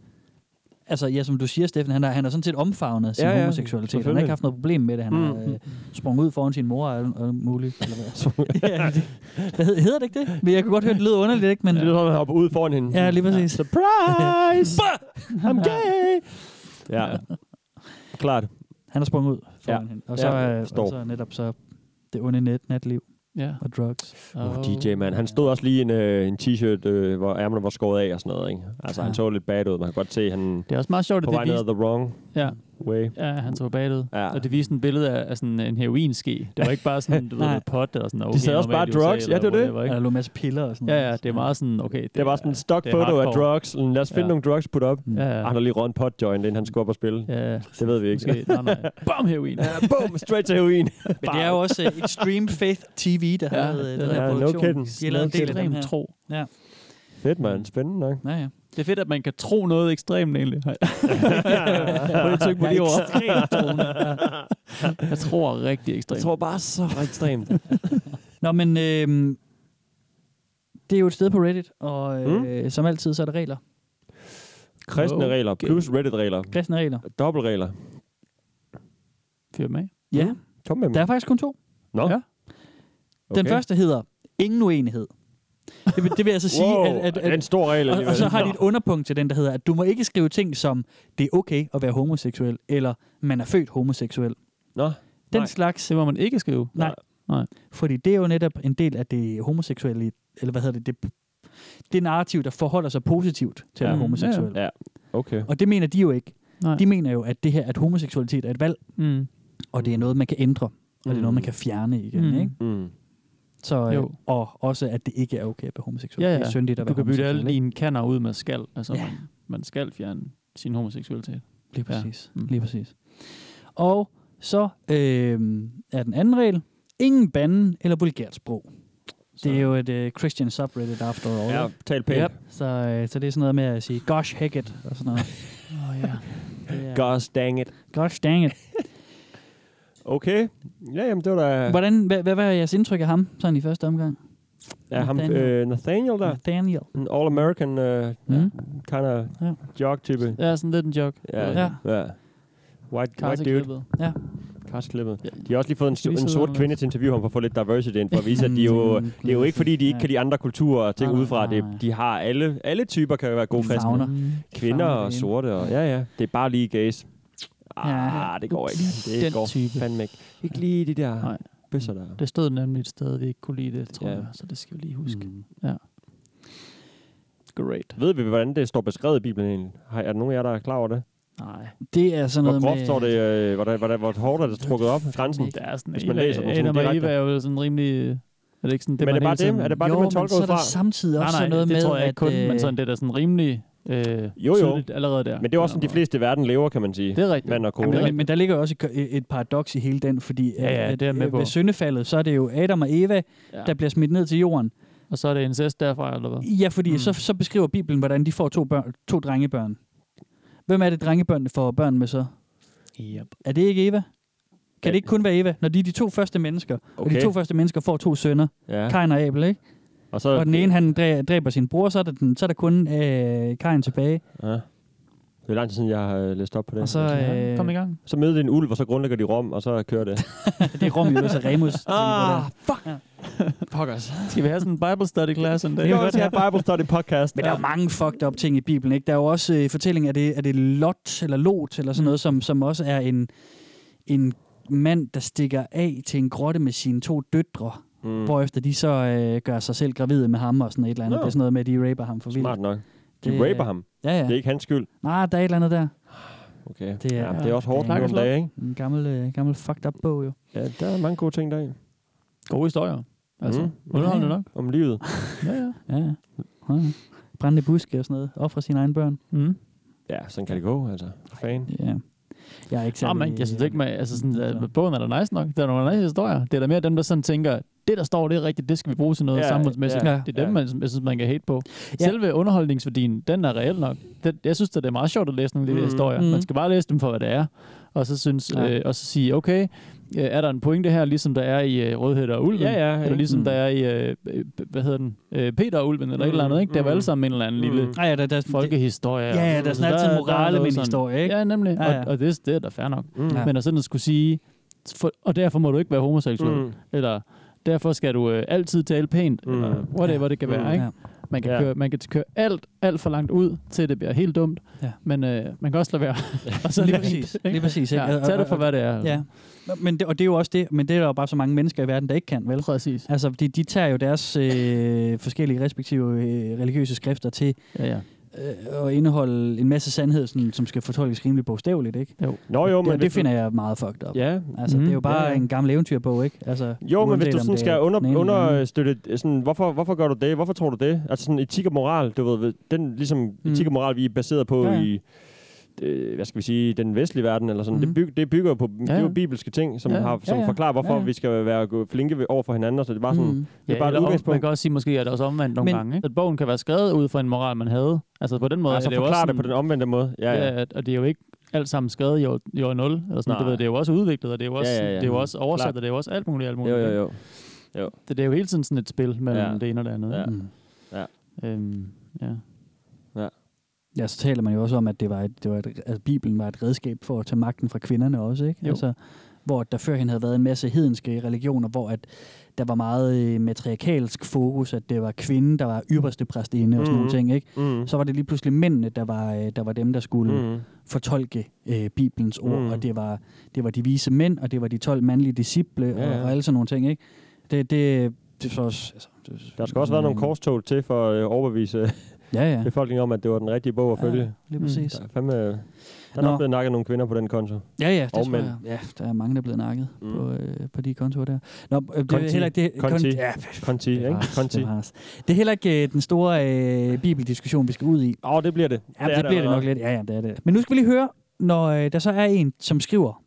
altså ja, som du siger, Steffen, han har, han har sådan set omfavnet sin
Ja,
ja,
ja,
ja, homoseksualitet. Han har
selvfølgelig.
ikke haft noget problem med det. Han
Mm.
har øh, sprunget ud foran sin mor og alt- alt muligt. Eller hvad? ja, det, hvad hed- hedder det ikke det? Men jeg kunne godt høre, det lyder underligt, ikke? Men,
Det lyder, som om, han hopper ud foran hende.
ja, lige præcis.
Surprise! I'm gay! Ja. Klart.
Han har sprunget ud foran ja.
Ja.
hende. Og så,
Ja,
ja, og
forstår.
så netop så det onde net, natliv
Ja. Oh.
og drugs.
Uh, DJ, man. Han stod også lige i en, øh, en t-shirt, øh, hvor ærmerne var skåret af og sådan noget. Ikke? Altså, ja. han
Ja.
så lidt bad ud. Man kan godt se, han
Det er også meget sjovt, at
på
det
vej ned
viste,
ad the wrong.
ja,
Way.
Ja, han tog bagud.
Ja.
Og det viste en billede af, af sådan en heroinske. Det var ikke bare sådan, du ved,
Nej.
med pot eller sådan
De
okay,
sagde også bare
normalt i USA
drugs. Ja, det var
eller
det.
whatever,
Ja,
Ikke?
der
lå en masse piller og sådan
Ja, ja, det er meget sådan, okay.
Det var sådan en stock
det er
photo af
hardcore.
drugs. Sådan, Lad os finde
Ja.
nogle drugs put op.
Ja, ja.
Ah, Han har lige røget en pot joint, inden han skulle op og spille.
Ja.
Det ved vi ikke.
Måske. Nej, nej. Bam, heroin.
Ja, boom, straight to heroin.
Men det er jo også øh, Extreme Faith TV, der
Ja,
har lavet øh,
det
den
er-
her
ja, no
produktion.
kidding.
De har lavet en
No
del af
kidding.
dem her.
Tro.
Ja.
Fedt, mand. Spændende nok.
Ja, ja.
Det er fedt, at man kan tro noget ekstremt, egentlig. Prøv lige at tykke på
Jeg er
de ord.
ekstremt troende.
Jeg tror rigtig ekstremt.
Jeg tror bare så ekstremt.
Nå, men øh, det er jo et sted på Reddit, og øh, mm. som altid, så er der regler.
Kristne
Okay.
regler plus Reddit-regler.
Kristne regler.
Dobbeltregler.
Fyr med.
Ja.
Kom med dem.
Der er faktisk kun to.
Nå.
Ja. Den
Okay.
første hedder ingen uenighed. Det vil, det vil altså sige,
Wow,
at, at,
det er
at
en stor regel
og, og
alligevel.
så har
Nå.
de et underpunkt til den, der hedder, at du må ikke skrive ting som, det er okay at være homoseksuel, eller man er født homoseksuel.
Nå, den
nej.
slags,
det må man ikke skrive.
Nej.
nej.
Fordi det er jo netop en del af det homoseksuelle, eller hvad hedder det, det, det narrativ, der forholder sig positivt til at være
Mm, Ja,
homoseksuel.
Ja, okay.
Og det mener de jo ikke.
Nej.
De mener jo, at det her, at homoseksualitet er et valg,
Mm.
og det er noget, man kan ændre, og det er noget, man kan fjerne igen.
Mm.
Ikke?
Mm.
Så, øh,
Jo.
og også, at det ikke er okay at være homoseksuel.
Ja, ja.
Det er syndigt at
du
være
kan bytte alle
homoseksuel,
dine kanner ud med skal. Altså,
Ja.
ja. man, man skal fjerne sin homoseksualitet.
Lige præcis.
Ja. Mm.
Lige præcis. Og så øh, er den anden regel, ingen banden eller vulgært sprog. Det er jo et øh, Christian subreddit after all.
Ja,
ikke?
tal pænt.
Så, øh, så det er sådan noget med at sige, gosh heck it, og sådan noget.
Oh, ja.
Det er-
Gosh dang it.
Gosh dang it.
Okay. Ja, jamen det var da...
Hvordan, hvad, hvad var jeres indtryk af ham, sådan i første omgang?
Ja, ham,
Nathaniel.
øh, Nathaniel der.
Nathaniel.
En all-American øh,
Mm.
kind of
Ja.
jog-type.
Ja, sådan lidt en joke.
Ja.
Ja.
ja. ja. White, white dude.
Karseklippet.
Ja.
Karsklippet. De har også lige fået en,
skal
st-
lige
en
sidde
sort
anderledes.
kvinde til interview ham for at få lidt diversity ind, for at vise, at de jo, det er jo ikke fordi, de ikke kan de andre kulturer og ting udefra. Det, de har alle, alle typer kan jo være gode
favner.
kristne. Kvinder
favner det
og
hele.
sorte. Og, ja, ja. Det er bare lige gays.
Ja.
Ah, det går ikke. Det
Den
går
type.
fandme ikke. Ikke lige de der
Nej.
bøsser der.
Det stod nemlig et sted, vi ikke kunne lide det, tror
Ja.
ja. jeg. Så det skal vi lige huske. Mm. Ja. Great.
Ved vi, hvordan det står beskrevet i Bibelen egentlig? Har- Er der nogen af jer, der er klar over det?
Nej.
Det er sådan
Hvor
noget
groft
med...
står det? Øh, hvordan, hvordan, hvor hårdt er det trukket op? Grænsen?
Der er sådan,
Hvis man læser den sådan
Adam og
direkte.
Eva er jo sådan rimelig... Er det ikke sådan, det,
Men er
man
det bare
hele tiden-
det? Er det bare det,
jo,
man
men
tolker
så
ud
er der
fra?
samtidig også
nej, nej,
noget
det
med,
tror jeg
at...
ikke kun,
øh,
men sådan det der sådan rimelig øh,
jo.
tydeligt allerede der.
Men det er også sådan, de fleste i verden lever, kan man sige.
Det er rigtigt.
Mand og kone.
Jamen, men, men der ligger jo også et, et paradoks i hele den, fordi
Ja, ja,
at,
det er jeg med
øh,
på.
ved syndefaldet, så er det jo Adam og Eva,
Ja.
ja. der bliver smidt ned til jorden.
Og så er det incest derfra, eller hvad?
Ja, fordi mm. så, så beskriver Bibelen, hvordan de får to, børn, to drengebørn. Hvem er det, drengebørnene får børn med så?
Yep.
Er det ikke Eva? Kan det ikke kun være Eva, når de er de to første mennesker? Og de
Okay.
to første mennesker får to sønner,
Ja.
Kain og Abel, ikke?
Og så...
Og den ene, han dræ- dræber sin bror, så er der, den, så er der kun øh, Kain tilbage.
Ja. Det er lang tid siden, jeg har øh, læst op på det.
Og så, øh,
Kom i gang.
så møder de en ulv, og så grundlægger de rom, og så kører det.
det er Romius og
Ah,
Remus. tænker jeg på der.
Pokkers. Skal vi have sådan en Bible study class en dag?
Det var også her Bible Study podcast.
Men der er jo mange fucked up ting i Bibelen, ikke? Der er jo også øh, fortælling, er det, er det Lot eller Lot eller
Mm.
sådan noget, som, som også er en, en mand, der stikker af til en grotte med sine to døtre,
Mm.
mm. hvorefter de så øh, gør sig selv gravide med ham og sådan et eller andet.
Nå.
Det er sådan noget med, at de raper ham for vildt.
Smart nok. De
Det-
raper ham.
Ja, ja.
Det er ikke hans skyld.
Nej, der er et eller andet der.
Okay.
Det er-
ja, det er også hårdt
det er-
nu om dagen, ikke?
En gammel, øh, gammel fucked up bog, jo.
Ja, der er mange gode ting deri.
Gode historier. Altså,
Mm.
mm. underholdende nok.
Om livet.
Ja, ja.
Ja, ja. Ja, ja. Brændende buske og sådan noget. Offre sine egne børn.
Mm.
Ja, sådan kan det gå, altså. Fan.
Ja. Jeg er ikke
Nå,
særlig...
men jeg synes ikke, man, altså sådan,
Så.
at bogen er da nice nok. Det er nogle nice historier. Det er da mere dem, der sådan tænker, det der står, det er rigtigt, det skal vi bruge til noget
Ja,
ja, samfundsmæssigt.
ja,
Ja, det er dem,
ja.
man, jeg synes, man kan hate på.
Ja.
Ja. Selve underholdningsværdien, den er reel nok. Det, jeg synes, det er meget sjovt at læse nogle af de
Mhm.
mm. historier.
Mhm.
Man skal bare læse dem for, hvad det er. Og så, synes,
Ja.
ja. øh, og så sige, okay, øh, er der en pointe her, ligesom der er i øh, Rødhed og Ulven?
Ja, Mm. ja,
Eller
ikke?
ligesom
Mhm.
der er i, øh, øh, hvad hedder den, øh, Peter og Ulven, eller mm. et
Mhm,
eller andet, ikke? Det er jo
mhm.
alle sammen en eller anden mm. lille
Mm.
Ej, ja, der, der, det,
folkehistorie.
øh, ja,
og
ja, der er
så-
sådan altid
der
morale
noget
med en
sådan-
historie, ikke?
Ja, nemlig.
Ja,
Ja,
ja.
ja. Og, og det, det er da fair nok.
Mm.
Ja.
Ja. Men at sådan at skulle sige, for, og derfor må du ikke være homoseksuel, mm.
Mm.
eller derfor skal du øh, altid tale pænt,
Mm.
mm. eller whatever
Ja.
ja. det kan være.
Mm.
Ikke?
Ja.
Man, kan
Ja.
ja. køre, man kan køre alt, alt for langt ud, til det bliver helt dumt,
Ja.
ja. men øh, man kan også lade være. og så
Lige
lade
præcis.
være, ikke?
Lige præcis, ikke?
Ja, tag det for, hvad det er.
Ja, Altså. men det, og det er jo også det, men det er der jo bare så mange mennesker i verden, der ikke kan, vel?
Præcis.
Altså, de, de tager jo deres øh, forskellige respektive øh, religiøse skrifter til
Ja, ja.
øh, og indeholde en masse sandhed, sådan, som skal fortolkes rimelig bogstaveligt, ikke?
Jo. Nå, jo,
det,
men hvis
det, det
du-
finder jeg meget fucked up.
Ja.
Altså, mm, det er jo
Mhm.
bare
Ja, ja.
en gammel eventyrbog, ikke? Altså,
Jo, men hvis
uanset
du
om
sådan
det er
skal
den
under,
ene eller den anden.
understøtte, øh, sådan, hvorfor, hvorfor gør du det? Hvorfor tror du det? Altså sådan etik og moral, du ved, ved, den ligesom mm. etik og moral, vi er baseret på
Ja,
ja,
ja.
ja. i, øh, hvad skal vi sige, den vestlige verden, eller sådan, mm. det, byg, det bygger jo på, ja, det er jo bibelske ting, som,
Ja,
ja,
ja.
har, som
Ja,
ja,
ja.
ja. forklarer, hvorfor
Ja,
ja,
ja.
ja. vi skal være gå- flinke ved- over for hinanden, så det er bare sådan, mm. det
Ja,
er bare et
eller om- man
udgangspunkt.
kan også sige, måske er det også omvendt nogle
Men-
men, gange. Ikke? At bogen kan være skrevet ud fra en moral, man havde. Altså på den måde
Altså
er det jo også
forklare
sådan,
det på den omvendte måde. Ja, ja.
at- og det er jo ikke alt sammen skrevet i år, i år 0. Eller sådan,
Nej.
du ved, det er jo også udviklet, og det er jo også,
Ja, ja, ja.
Det er jo også oversat,
Klart.
og det er jo også alt muligt. Alt muligt
Jo, jo,
ikke?
jo. jo.
Det, det er jo hele tiden sådan et spil mellem
Ja.
ja. det ene og det andet.
Ja.
ikke?
Mm. Ja.
Øhm, ja.
Ja, så taler man jo også om, at det var et, det var et, altså, Bibelen var et redskab for at tage magten fra kvinderne også, ikke?
Jo.
Altså, hvor der førhen havde været en masse hedenske religioner, hvor at der var meget øh, matriarkalsk fokus, at det var kvinden, der var ypperste præstinde og sådan nogle
Mhm.
ting, ikke?
Mhm.
Så var det lige pludselig mændene, der var, øh, der var dem, der skulle
Mhm.
fortolke øh, Bibelens ord,
Mhm.
og det var, det var de vise mænd, og det var de 12 mandlige disciple, ja,
Ja,
ja.
ja.
Og, og alle sådan nogle ting, ikke? Det, det, det er så også, altså, det,
Der skal også være nogle korstog til for at øh, overbevise
Ja, ja.
befolkningen om, at det Mm. var den rigtige bog at
Ja,
følge.
lige præcis.
Der er, fandme, øh, der er
Nå.
nok blevet nakket nogle kvinder på den konto.
Ja, ja, det
Og
tror
mænd.
jeg. Ja, der er mange, der er blevet nakket mm. på, øh, på de kontorer der. Nå, øh, det
Conti.
er heller ikke... Det,
Conti.
Kon- ja,
Conti,
det er
ikke?
rart,
Conti.
Det er, rart. det er heller ikke øh, den store øh, bibeldiskussion, vi skal ud i.
Åh, oh, det bliver det.
Ja, det, det bliver det nok
allerede.
lidt. Ja, ja, det er det. Men nu skal vi lige høre, når øh, der så er en, som skriver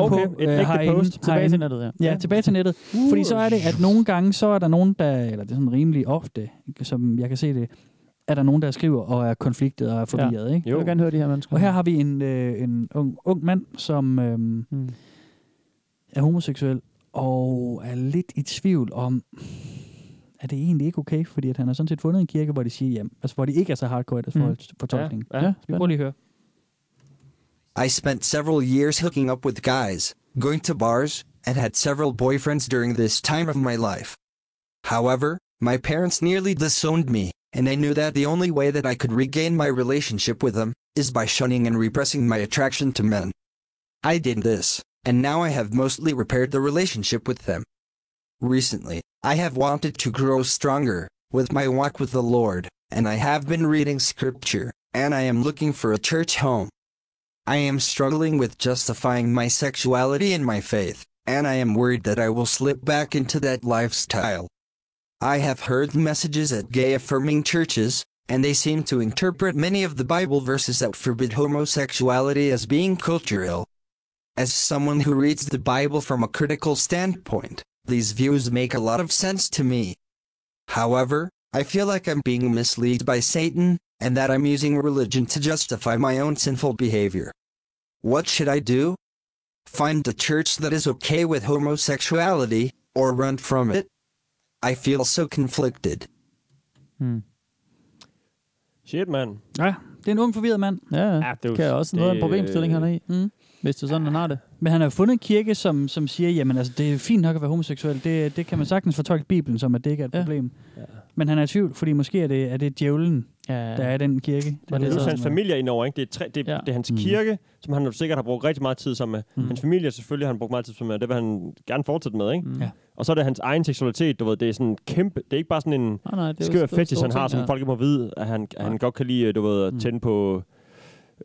øh,
Okay, et ægte
herinde-
post. Tilbage
herinde.
til nettet, ja.
ja. Ja, tilbage til nettet. Uh. Fordi så er det, at nogle gange, så er der nogen, der, eller det er sådan rimelig ofte, som jeg kan se det, er der nogen, der skriver og er konfliktet og er forvirret. Ikke?
Jeg vil gerne høre de her mennesker.
Og her har vi en, øh, en ung, ung mand, som øh, mm. er homoseksuel og er lidt i tvivl om, er det egentlig ikke okay? Fordi at han har sådan set fundet en kirke, hvor de siger, jamen, altså, hvor de ikke er så hardcore i deres
Mm.
mm. fortolkning.
Ja, ja,
vi prøver lige at høre.
I spent several years hooking up with guys, going to bars, and had several boyfriends during this time of my life. However, my parents nearly disowned me, and I knew that the only way that I could regain my relationship with them is by shunning and repressing my attraction to men. I did this, and now I have mostly repaired the relationship with them. Recently, I have wanted to grow stronger with my walk with the Lord, and I have been reading scripture, and I am looking for a church home. I am struggling with justifying my sexuality and my faith, and I am worried that I will slip back into that lifestyle. I have heard messages at gay affirming churches, and they seem to interpret many of the Bible verses that forbid homosexuality as being cultural. As someone who reads the Bible from a critical standpoint, these views make a lot of sense to me. However, I feel like I'm being misled by Satan, and that I'm using religion to justify my own sinful behavior. What should I do? Find a church that is okay with homosexuality, or run from it? I feel so conflicted.
Shit, mand.
Ja, det er en ung forvirret mand.
Ja, ja.
det er jo-
kan også noget af en
det-
problemstilling, han er i.
Mm.
Hvis det er sådan, han har det.
Men han har jo fundet en kirke, som, som siger, jamen altså, det er fint nok at være homoseksuel. Det, det kan man sagtens fortolke Bibelen som, at det ikke er et problem. Ja. Men han er i tvivl, fordi måske er det, er det djævlen, ja. der er i den kirke. Det
Men det er
lyder
også hans
som, at-
familie indover, ikke? Det er, tre, det, ja. det er hans
Mm.
mm. kirke, som han sikkert har brugt rigtig meget tid sammen med.
Mm.
Mm. Hans familie selvfølgelig har han brugt meget tid sammen med, og det vil han gerne fortsætte med, ikke?
Mm. Ja.
Og så er det hans egen seksualitet, du ved, det er sådan en kæmpe, det er ikke bare sådan en
Nej, nej, det er jo
skør
store-
fetish,
store
han har,
ting,
som
ja. Mm.
folk ikke må vide, at han, at han godt kan lide, du ved, at tænde på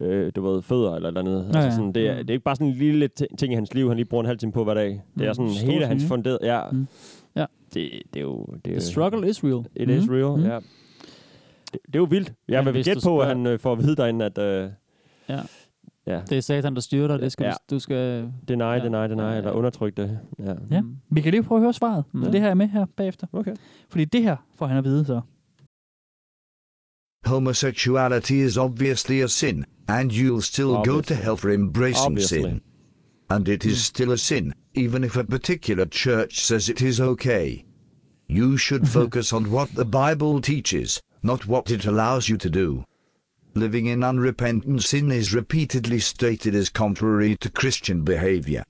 øh, du ved, fødder eller et eller andet. Ja,
Ja, ja.
altså sådan, det, er,
Mm.
det er ikke bare sådan en lille ti- ting i hans liv, han lige bruger en halv time på hver dag. Det er
Mm.
sådan
Store
hele
ting,
hans
ikke?
funderet, ja.
Mm.
Ja.
Det, det er jo... Det er,
The struggle is real.
øh, It is
Mm.
real,
Mm.
ja. Det, det er jo vildt. Jeg
Men
vil
hvis
gætte
du
på, at
spørger-
han øh, får at vide derinde, at... Øh,
Ja.
ja.
Det er satan, der styrer dig. Det skal
Ja.
du, du skal...
Deny, ja. deny, deny, ja, ja. eller undertryk det. Ja.
Ja. Vi kan øh, lige prøve at høre svaret.
Mm.
Så det her er med her bagefter.
Okay.
Fordi det her får han at vide så.
Homosexuality is obviously a sin, and you'll still go to
Obviously.
hell for embracing
Obviously.
sin. And it is
Hmm.
still a sin, even if a particular church says it is okay. You should focus on what the Bible teaches, not what it allows you to do. Living in unrepentant sin is repeatedly stated as contrary to Christian behavior.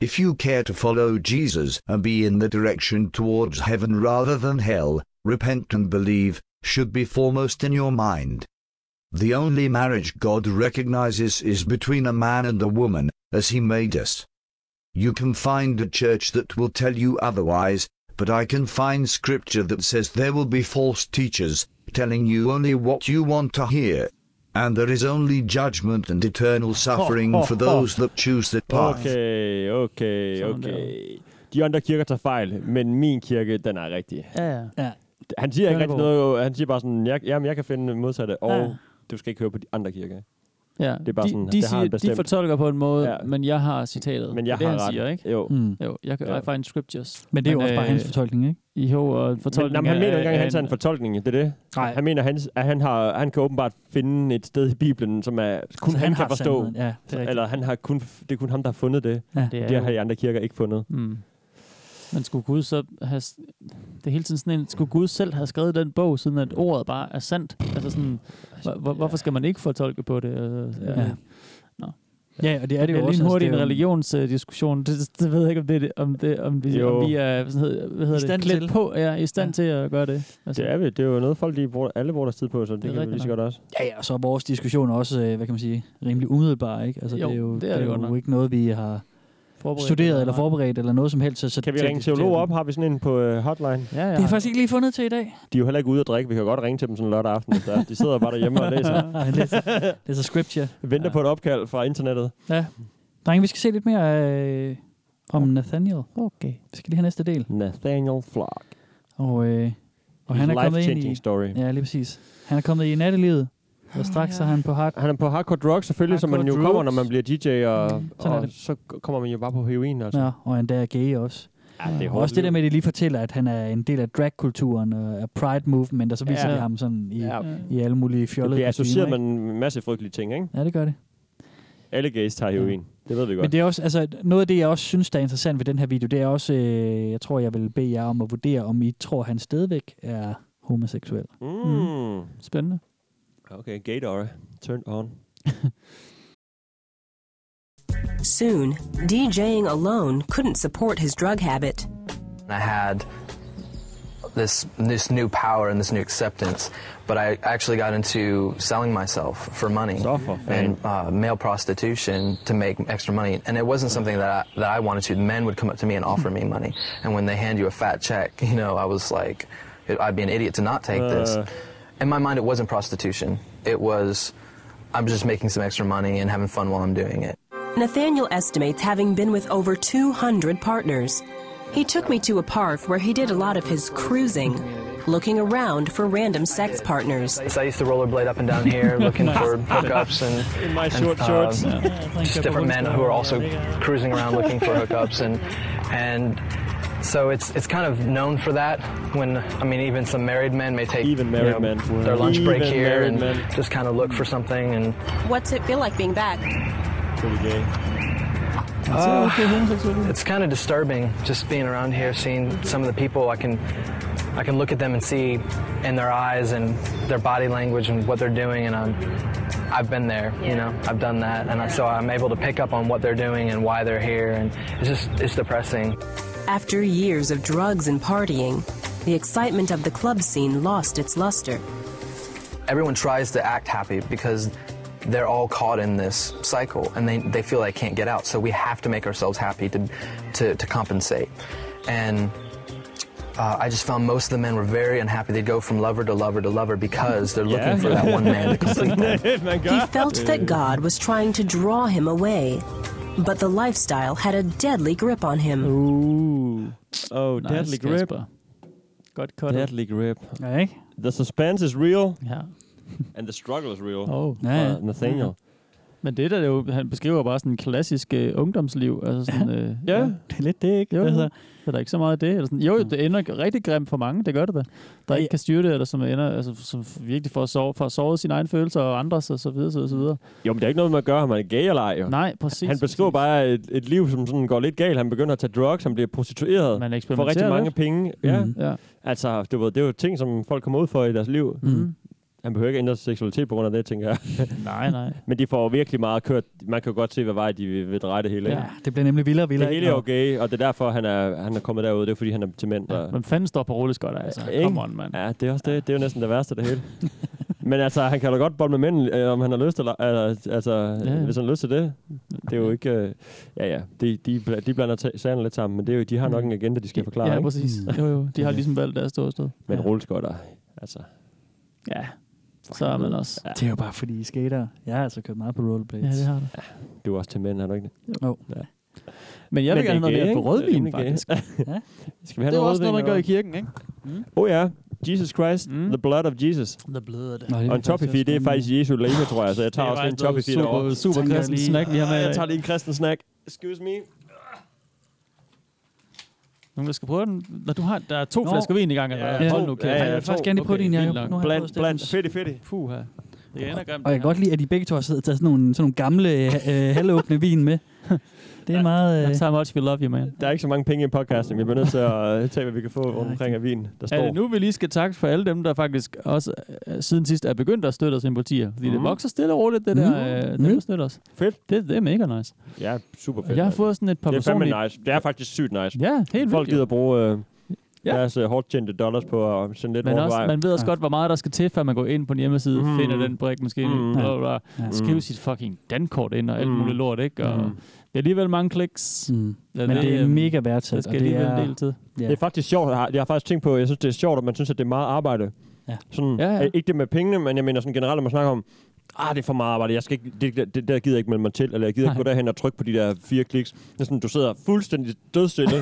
If you care to follow Jesus and be in the direction towards heaven rather than hell, repent and believe should be foremost in your mind. The only marriage God recognizes is between a man and a woman, as He made us. You can find a church that will tell you otherwise, but I can find scripture that says there will be false teachers telling you only what you want to hear. And there is only judgment and eternal suffering
ho,
for
ho.
those that choose that
Oh,
path.
Okay, okay, okay. De andre kirker tager fejl, men min kirke, den er rigtig.
Ja, ja.
ja.
Han siger ikke rigtig
Bjørnebo.
noget. Han siger bare sådan, jeg, jamen, jeg kan finde modsatte, og
Ja.
du skal ikke høre på de andre kirker.
Ja,
Det er bare
de,
sådan,
de,
det har
siger,
han
de
bestemt.
fortolker på en måde, ja. men jeg har citatet.
Men jeg
det, er
har
det, han
ret.
Siger, ikke?
Jo.
Mm.
jo, jeg kan
Jo.
I find scriptures.
Men det er jo også
øh,
bare hans fortolkning, ikke?
Jo, og en
Men,
fortolkning
jamen, han mener jo ikke engang, at
af-
han tager en fortolkning. Det er det.
Nej.
Han mener, han, at han, har, han kan åbenbart finde et sted i Bibelen, som er, kun
Så
han,
han
kan
har
forstå.
sandheden. Ja, det er rigtigt.
Eller han har kun, det er kun ham, der har fundet det.
Ja.
Ja.
Det
Det,
er
det har
jo-
de andre kirker ikke fundet.
Mm. Men skulle Gud så have... s- Det er hele tiden sådan en... Skulle Gud selv have skrevet den bog, siden at ordet bare er sandt? Altså sådan... Hvor, hvor- hvorfor skal man ikke fortolke på det? Øh,
Ja.
øh, Nå.
Ja, og det er det jo
bliver
også, altså,
lige en hurtig
det er
en
jo-
religionsdiskussion. Det, det, det, ved jeg ikke, om, det, er det- om, det, om, vi,
Jo.
om vi er hvad hedder, hvad hedder
I stand
det, klædt
til.
på, ja, i stand ja. til at gøre det.
Altså, det er vi. Det er jo noget, folk de bruger, alle bruger deres tid på, så det, det
er
kan vi
rigtigt
lige så
nok.
godt også.
Ja, ja, og så er vores diskussion også, øh, hvad kan man sige, rimelig umiddelbar, ikke? Altså,
Jo,
det er jo,
det er
det er
det godt
jo
nok.
ikke noget, vi har
Forberedt
forberedt studeret
eller
eller,
nej.
forberedt eller noget som helst. Så, så
Kan vi
til at
ringe
diskutere
teologer
det.
op? Har vi sådan en på øh, hotline?
Ja,
Det har jeg faktisk ikke lige fundet til i dag.
De er jo heller ikke ude at drikke. Vi kan jo godt ringe til dem sådan lørdag aften. hvis det er. De sidder bare derhjemme og læser.
Det er så scripture.
Venter på et opkald fra internettet.
Ja. Drenge, vi skal se lidt mere øh, om Nathaniel.
Okay.
Vi skal lige have næste del.
Nathaniel Flock.
Og, øh, og han er kommet ind i...
Life-changing story.
Ja, lige præcis. Han er kommet i nattelivet, og straks er han på hard...
Han er på hardcore drugs selvfølgelig, som man jo
Hardcore
kommer, når
drugs. Mm,
man bliver DJ, og,
Sådan er
og
det.
så kommer man jo bare på heroin. Altså.
Ja, og endda er gay også.
Ja, det er
og
hårdt
også det der
liv.
med, at de lige fortæller, at han er en del af dragkulturen og af pride movement, og så viser
Ja.
ja. de ham sådan i,
Ja.
ja. i alle mulige
Det
fjollede
bliver associeret
kostumer,
med en masse frygtelige ting, ikke?
ikke? Ja, det gør det.
Alle gays tager heroin. Det ved vi godt.
Men det er også, altså, noget af det, jeg også synes, der er interessant ved den her video, det er også, øh, jeg tror, jeg vil bede jer om at vurdere, om I tror, han stadigvæk er homoseksuel.
Mm.
Spændende.
Okay, Gator. Turned on.
Soon, DJing alone couldn't support his drug habit.
And I had this this new power and this new acceptance, but I actually got into selling myself for money and uh, male prostitution to make extra money. And it wasn't something that I, that I wanted to. Men would come up to me and offer me money, and when they hand you a fat check, you know, I was like, I'd be an idiot to not take this.
Uh.
In my mind, it wasn't prostitution. It was, I'm just making some extra money and having fun while I'm doing it.
Nathaniel estimates having been with over 200 partners. He took me to a park where he did a lot of his cruising, looking around for random sex partners.
So I used to rollerblade up and down here looking for hookups and
In my
and,
short
uh,
shorts.
just different men who are also cruising around looking for hookups and and so it's it's kind of known for that. When I mean, even some married men may take even
married
you know,
men.
their lunch break
Even
here
married
and
men.
just kind of look for something and
What's it feel like being back?
Pretty gay.
Uh, it's kind of disturbing just being around here, seeing some of the people. I can, I can look at them and see in their eyes and their body language and what they're doing, and I'm, I've been there, you know, I've done that, and I, so I'm able to pick up on what they're doing and why they're here, and it's just, it's depressing.
After years of drugs and partying, the excitement of the club scene lost its luster.
everyone tries to act happy because they're all caught in this cycle and they, they feel they can't get out. So we have to make ourselves happy to, to, to compensate. And uh, I just found most of the men were very unhappy. They'd go from lover to lover to lover because they're looking for that one man to complete them.
He felt that God was trying to draw him away, but the lifestyle had a deadly grip on him.
Ooh. Oh,
Nice,
deadly grip.
Kasper. Uh, Godt cut.
Deadly grip.
Ja, ikke?
The suspense is real.
Ja.
And the struggle is real.
Oh,
Fra Nathaniel.
Men det der det er jo, han beskriver bare sådan en klassisk øh, ungdomsliv. Altså sådan, øh,
Ja.
Det er lidt det, ikke?
Jo,
Altså,
altså, er der ikke så meget af det? Eller sådan. Jo, det ender rigtig grimt for mange, det gør det da. Der ikke kan styre det, eller som ender, altså, som virkelig får sove, får såret sine egne følelser og andres, og så videre, så videre, så videre.
Jo, men det er ikke noget med at gøre, om man er gay eller ej. Jo.
Nej, præcis.
Han beskriver bare et, et liv, som sådan går lidt galt. Han begynder at tage drugs, han bliver prostitueret.
Man
Får rigtig
eksperimenterer
mange
lidt.
penge. Ja.
Mhm. Ja.
Altså, du ved, det er jo ting, som folk kommer ud for i deres liv.
Mhm.
Han behøver ikke ændre seksualitet på grund af det, tænker jeg.
nej, nej.
Men de får jo virkelig meget kørt. Man kan jo godt se, hvad vej de vil, vil dreje det hele.
ja,
ikke?
det bliver nemlig vildere og vildere.
Det hele
ikke?
er
Og-
jo gay, og det er derfor, han er, han er kommet derud. Det er fordi, han er til mænd. Ja,
Men fanden står på rulleskotter, altså.
Ikke?
Come on, mand.
Ja, det er også det. Det er jo næsten det værste af det hele. Men altså, han kan da godt bolle med mænd, øh, om han har lyst til, eller, altså,
ja.
ja. hvis han har lyst til det. Det er jo ikke... Øh, ja, ja, de, de, bla- de blander ta- sagerne lidt sammen, men det er jo, de har nok en agenda, de skal forklare,
Mm. Ja,
ikke?
Mm.
præcis. Jo, jo. De har ligesom valgt deres ståsted.
Men
ja.
rulleskotter, altså...
Ja, så er man også...
Det er jo bare fordi I er skater. Jeg har altså kørt meget på rollerblades.
Ja, det har du.
Du er også til mænd, har du ikke det?
Jo.
Ja.
Men jeg vil gerne have noget mere på rødvin, faktisk.
ja.
Skal vi have
Det er
noget
også
rødvin,
noget, man gør i
eller
kirken, ikke?
hvad? Oh ja, Jesus Christ, mm. the blood of Jesus.
The blood.
Nå,
Og en toffifee, det er faktisk Jesu læge, tror jeg, så jeg tager
Det er
også lige en
faktisk
toffifee
noget super-
derovre.
super
Tænker jeg
kristen
lige.
snack, vi har med i
Ah, Jeg
dag.
tager lige en kristen snack. Excuse me.
Nogen, der skal prøve den? Når du har, der er to
Nå.
flasker vin i gang, eller
Ja,
hvad?
ja.
Hold nu kæft.
Ja, ja, Jeg vil to. faktisk gerne lige prøve
Okay,
din, Jacob.
fint nok.
Nu har jeg prøvet
Bland, bland.
Steffens.
Fedt, fedt.
Puh, her. Det ender grimt.
Og jeg kan godt lide, at I begge to har siddet og taget sådan nogle, sådan nogle gamle, øh, halvåbne vin med. Det er meget... øh,
That's how much we love you, man.
Der er ikke så mange penge i podcasting. Vi bliver nødt til at øh, tage, hvad vi kan få rundt omkring af vin, der
Er det
står.
nu, vi lige skal takke for alle dem, der faktisk også øh, siden sidst er begyndt at støtte os i partier. Fordi mm.
Mhm.
det
Mm.
vokser stille og roligt, det der, øh, dem, der støtter os.
Fedt.
Det, det er mega nice.
Ja, super fedt.
Jeg har
mand.
fået sådan et par
Øh, Det er fandme
personlige-
nice. Det er faktisk sygt nice.
Ja, helt vildt,
Folk
jo.
gider bruge øh,
Ja.
deres øh, hårdt tjente dollars på at sende lidt
Men
vores
også,
vej.
man ved også godt, hvor meget der skal til, før man går ind på en hjemmeside,
Mm.
mm. finder den brik måske,
Mm.
mm. bla, bla,
Ja.
bla.
Mm.
skrive sit fucking dankort ind og alt
Mm.
muligt lort, ikke? Og
Mm.
Det er alligevel mange kliks.
Mm. Men det er
øhm,
mega værdsat,
Det skal
og det
alligevel en
er-
del tid.
Det er faktisk sjovt. Jeg har, jeg har faktisk tænkt på, jeg synes, det er sjovt, at man synes, at det er meget arbejde.
Ja.
Sådan,
Ja,
ja,
ja.
ja. Ikke det med pengene, men jeg mener sådan generelt, når man snakker om, ah, det er for meget arbejde, jeg skal ikke, det, det, det der gider jeg ikke melde mig til, eller jeg gider ikke
Nej.
gå derhen og trykke på de der fire kliks. Det er sådan, du sidder fuldstændig dødstille.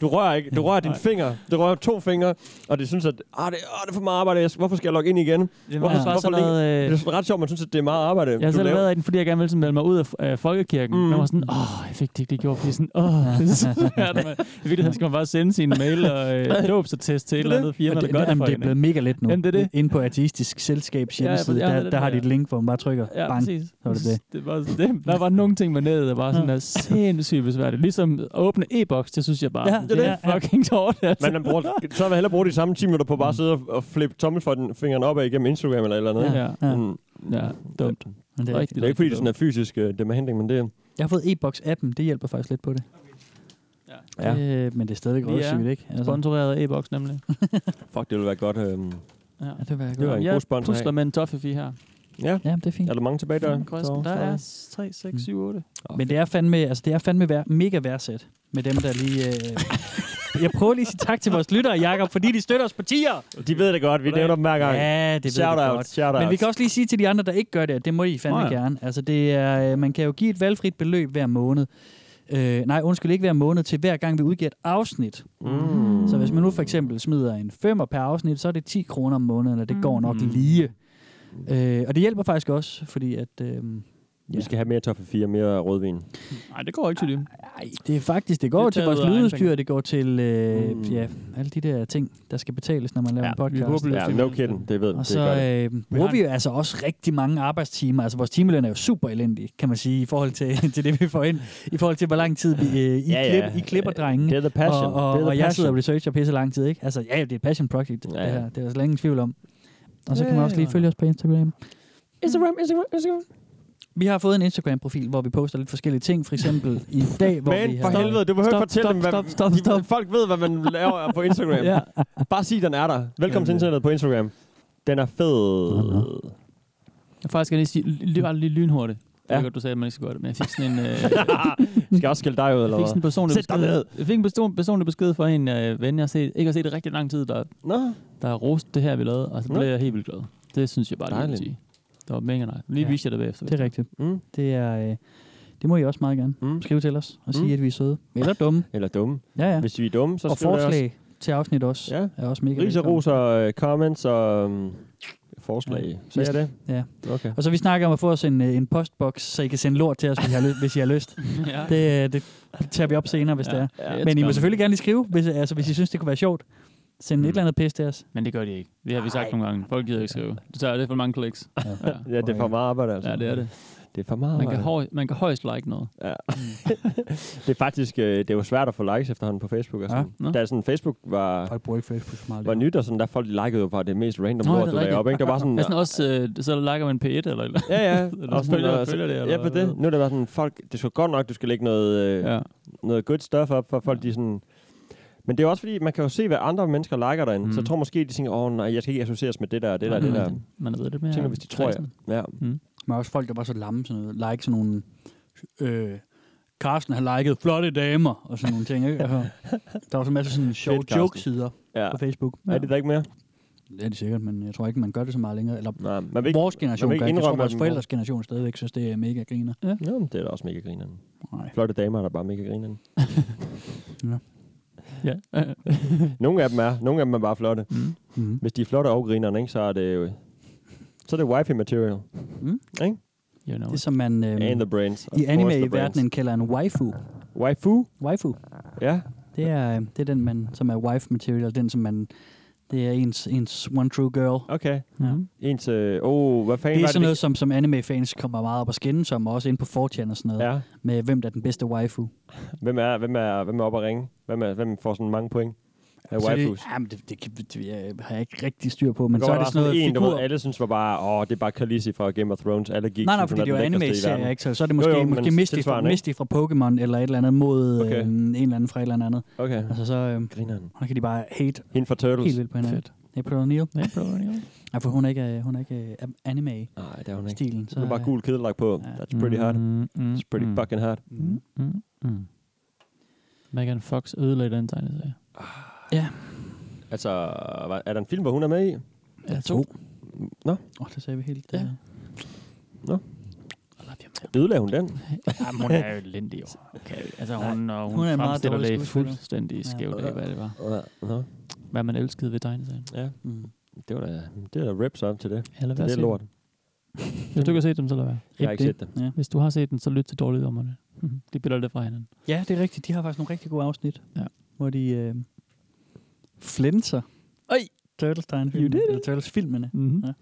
du rører ikke, du rører din finger, du rører to fingre, og det synes, at ah, det, ah, det er for meget arbejde, jeg, skal- hvorfor skal jeg logge ind igen?
er
hvorfor,
meget bare sådan
længe-
noget, øh,
Det er sådan ret sjovt, man synes, at det er meget arbejde.
Jeg har
du
selv
laver.
været i den, fordi jeg gerne ville sådan melde mig ud af øh, folkekirken.
Mm.
Mm. Men jeg var sådan, åh, jeg fik det ikke lige gjort, fordi sådan, åh, det er så svært. man." I virkeligheden skal man bare sende sin mail og øh, dåbsattest til et eller andet firma,
Men
der
det,
gør det for
jamen, det
en,
er
ikke?
blevet mega let nu.
Jamen, det er det.
Inde på Ateistisk Selskabs
Ja, ja,
hjemmeside,
ja,
ja,
det er
der,
det,
der har
ja.
de et link, hvor man bare trykker.
Ja,
Bang.
præcis.
Så var det det.
det var, det, der var nogle ting med ned, der var sådan der sindssygt besværligt. Ligesom at åbne e-boks, det synes jeg bare,
Ja,
ja, det,
det
det
er
er fucking hårdt. Altså.
Men man bruger, så vil jeg hellere bruge de samme 10 minutter på bare at sidde og, og flippe tommelfingeren opad igennem Instagram eller et eller andet.
Ja, ja.
Mm.
ja dumt.
Men
Det er, rigtig, det er ikke fordi, det sådan er fysisk øh, det med handling, men det er...
Jeg har fået e-boks-appen, det hjælper faktisk lidt på det.
Ja.
Øh, men det er stadigvæk
Vi er
røvsygt, ikke? Altså,
Sponsoreret af e-boks nemlig.
Fuck, det ville være godt. Øhm.
Ja,
det var jeg
Det var en god sponsor.
Jeg pusler
af.
med en toffee her.
Ja.
Ja, det er fint.
Er der mange tilbage der?
Kristen, der er 3, 6, 7, 8.
Men det er fandme, altså det er fandme vær- mega værdsat med dem, der lige... Øh... jeg prøver lige at sige tak til vores lyttere, Jakob, fordi de støtter os på tier.
De ved det godt. Vi nævner dem hver gang.
Ja, det ved
shout
vi
out,
godt.
Shout out.
Men vi kan også lige sige til de andre, der ikke gør det, at det må I
Nå
fandme
ja.
oh, ja. gerne. Altså, det er, øh, man kan jo give et valgfrit beløb hver måned. Øh, nej, undskyld, ikke hver måned, til hver gang vi udgiver et afsnit.
Mm.
Så hvis man nu for eksempel smider en femmer per afsnit, så er det 10 kroner om måneden, og det går nok lige. Øh, og det hjælper faktisk også, fordi at... Øh,
Vi skal have mere toffe 4, mere rødvin.
Nej, det går ikke til dem.
Nej, det er faktisk, det går
Det
det
er taget
til vores
ud af egen
lydudstyr,
penge.
det går til øh, mm. ja, alle de der ting, der skal betales, når man laver ja, en
vi er
podcast.
håbløse.
Ja, no kidding. Det ved
Og
det
så
gør det.
øh, bruger vi jo altså også rigtig mange arbejdstimer. Altså vores timeløn er jo super elendig, kan man sige, i forhold til, til det, vi får ind. I forhold til, hvor lang tid vi, øh, I,
Ja,
ja,
ja.
ja. Klip, I klipper, drenge.
Det er the passion.
Og, og,
Det er the
og jeg sidder og
passion.
researcher pisse lang tid, ikke? Altså, ja, det er et passion project, ja.
Ja,
det
ja.
her. Det er der slet ingen tvivl om. Og så kan
Ja,
man også lige
Øh.
ja.
følge os på Instagram.
Instagram, Instagram, Instagram.
Vi har fået en Instagram-profil, hvor vi poster lidt forskellige ting. For eksempel i dag, hvor vi
Men
har...
for helvede, du behøver ikke
Stop,
fortælle
stop,
dem, hvad...
stop, stop, stop.
de- Folk ved, hvad man laver på Instagram.
Ja.
Bare sig, den er der. Velkommen til internettet på Instagram. Den er fed.
Jeg faktisk gerne lige sige, lige bare lige lynhurtigt. Jeg
Ja.
ved godt, du sagde, at man ikke skulle gøre det, men jeg fik sådan en... Øh,
Skal jeg også skille dig ud, eller
Jeg fik sådan en
hvad?
personlig
Sæt dig
besked.
ned.
Jeg fik en person, personlig besked fra en øh, ven, jeg har set, ikke har set i rigtig lang tid, der,
Nå.
der roste det her, vi lavede, og så blev
Nå.
jeg helt vildt glad. Det synes jeg bare, det
Dejligt.
vil sige. Det var mega nice. Lige ja.
Ja,
viste jeg det bagefter.
Det er rigtigt.
Mm.
Det er... Øh, det må I også meget gerne
Mm.
skrive til os og sige,
Mm.
at vi er søde. Eller dumme.
Eller dumme.
Ja, ja.
Hvis vi er dumme, så
og
skriv det også.
forslag til afsnit også.
Ja.
Er også mega
Ris og
velkommen.
ros og øh, comments og øhm, forslag. Ja. Så er det?
Ja.
Okay.
Og så vi snakker om at få os en, øh, en postboks, så I kan sende lort til os, hvis I har, ly- hvis I har lyst.
Ja.
Det, øh, det tager vi op senere, hvis ja, det er.
Ja,
Men I må
skal-
selvfølgelig gerne lige skrive, hvis, altså, hvis I synes, det kunne være sjovt. Send et eller andet pis til os.
Men det gør de ikke. Det har vi sagt nogle gange. Folk gider ikke skrive. Det tager det er for mange kliks. Ja, ja.
Ja, det er for meget arbejde, altså.
ja det er det.
Det er for meget
Man kan,
arbejde.
høj, man kan højst like noget.
Ja. det er faktisk, øh, det er jo svært at få likes efterhånden på Facebook. Og sådan.
Nå.
Ja. Da sådan Facebook var,
Folk bruger ikke Facebook så meget.
var nyt, og sådan, der folk likede jo bare det mest random Nå,
Nå, er
lort,
det
du lagde
rigtigt?
op. Ikke? Det var bare sådan,
Ja. Sådan også, øh, så liker man P1 eller eller.
ja, ja.
Eller
og sådan,
følger-
og så-
følger det, eller
ja, på
hvad?
det. Nu er det bare sådan, folk, det skal godt nok, du skal lægge noget, øh,
Ja.
noget good stuff op, for folk de sådan... Men det er også fordi, man kan jo se, hvad andre mennesker liker derinde. Mm. Så jeg tror måske, de tænker, åh oh, nej, jeg skal ikke associeres med det der, og det der,
Nej,
og det
det er
der.
rigtigt. Mm. Man er ved det
Jeg
mere.
tænker, hvis de tror, jeg...
kredsen.
Ja.
Men også folk, der var så lamme, sådan noget, like sådan nogle... Øh, Carsten har liket flotte damer og sådan nogle ting. Ikke? Altså, Der var så masser af sådan sjove
Fedt, Carsten.
joke-sider
Ja.
på Facebook.
Er det der ikke mere?
Det er det sikkert, men jeg tror ikke, man gør det så meget længere. Eller
Nej, man vil ikke,
vores generation
man vil
gør
ikke
ikke. Jeg tror,
indrømme,
vores
at-
forældres generation stadigvæk synes, det er mega griner.
Ja. Nå, men det er da også mega grineren.
Nej.
Flotte damer er der bare mega grineren.
ja.
Ja.
nogle af dem er, nogle af dem er bare flotte.
Mm.
Hvis de er flotte og grinerne, ikke, så er det jo... Så er det wifey material.
Mm.
Ikke?
You know
Det er som man øhm,
And the brains. Of
i
course the brains.
anime-verdenen kalder en waifu.
Waifu?
Waifu.
Ja.
Det er, øh, det er den, man, som er wife material, den som man... Det er ens, ens one true girl.
Okay.
Ja.
Ens... Øh, oh, hvad fanden
Det er
var
sådan noget, som, som anime-fans kommer meget op og skinne, som også inde på 4chan og sådan noget,
Ja.
med hvem der er den bedste waifu.
Hvem er, hvem er, hvem er oppe at ringe? Hvem, er, hvem får sådan mange point? Af
Så
waifus.
Det, jamen, det, det, kan- det, jeg øh, har jeg ikke rigtig styr på,
Men
men så er det sådan noget
en, du ved,
figur...
alle synes var bare, åh, det er bare Khaleesi fra Game of Thrones. Alle gik
Nej, nej,
synes, hun
fordi
er
det er jo
den lækreste i
anime-serier,
verden.
ikke? Så, så er det måske,
Jo, jo,
måske
men
Misty, fra,
tilsvarende, ikke?
Misty fra Pokémon eller et eller andet mod
Okay.
okay. øh, en eller anden fra et eller andet.
Okay.
Altså, så, øh,
Grineren.
og der kan de bare hate
Hende fra Turtles.
helt vildt på hinanden.
Fedt.
April O'Neil.
April O'Neil.
Ja, for hun er ikke, øh, hun er ikke øh, anime.
Nej, det er hun ikke.
Stilen, så, Mm.
Hun er bare gul kedeldragt på. That's pretty hot. It's pretty fucking hot.
Mm, mm, mm. Megan Fox ødelagde den tegneserie.
Altså, hvad- er der en film, hvor hun er med i?
Ja, to.
Nå.
Åh, oh, det sagde vi helt. Ja.
Nå. Ødelagde hun den?
Jamen, hun er jo elendig, jo. Okay. Altså, hun, og hun,
hun
hun
er en meget
fremstiller
dårlig
det
skuespiller.
fuldstændig
Ja.
skævt af, hvad det var.
Nå.
Hvad man elskede ved tegneserien.
Ja.
Mm.
Det var da, det er da rips op til det.
Ja, lad
det
være
er
at se
lort.
Hvis du ikke har set dem, så lad være.
Jeg har ikke set dem.
Ja.
Hvis du har set den, så lyt til dårlige dommerne. De piller det fra hinanden.
ja, det er rigtigt. De har faktisk nogle rigtig gode afsnit,
Ja.
hvor de øh, flænser. Øj! Turtles tegnefilmen, eller Turtles filmene.
Mm-hmm.
Ja.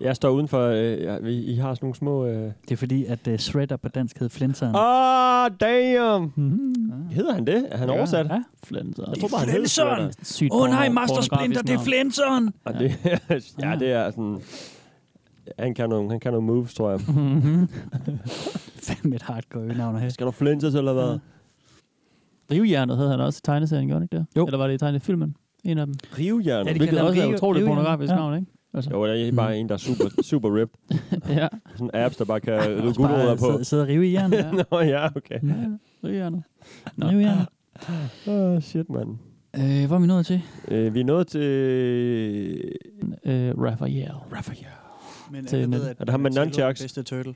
Jeg står udenfor, øh, ja, vi, I har sådan nogle små... Øh...
Det er fordi, at uh, Shredder på dansk hed Flinteren.
Ah, damn!
Mm-hmm.
Hedder han det? Er han
Ja.
oversat?
Ja.
Flinser.
Jeg tror bare, han hedder Shredder.
Sygt
Åh oh, nej,
porno-
Master Splinter,
pornografisk
det er
navn.
Flinteren!
Og det, ja, det er sådan... Han kan nogle, han kan nogle moves, tror jeg.
Mhm. Fandme et hardcore navn at have.
Skal du flinses eller hvad?
Mhm.
Drivjernet hed han også i tegneserien, gjorde han ikke det?
Jo.
Eller var det i tegnefilmen? En af dem.
Rivjern.
Ja, det
Hvilket
kalder
også
ham
er
Rio-
utroligt
Rivejern.
pornografisk
Ja.
navn, ikke? Altså,
Jo, det er bare en, der er super, super ripped.
ja.
Sådan apps, der bare kan rive
Også bare
guldrødder på.
sidde- Sidde og rive i jern.
ja.
Nå, ja, okay.
Drivjernet. Nå.
Rive i jern.
Åh, oh, shit, mand.
Øh, hvor er vi nået til?
Øh, vi er nået til...
Øh, Raphael.
Raphael.
Men
Til
øh,
alle
en-
ved, at
Er det ham med
Donatello er
nunchucks?
den bedste turtle.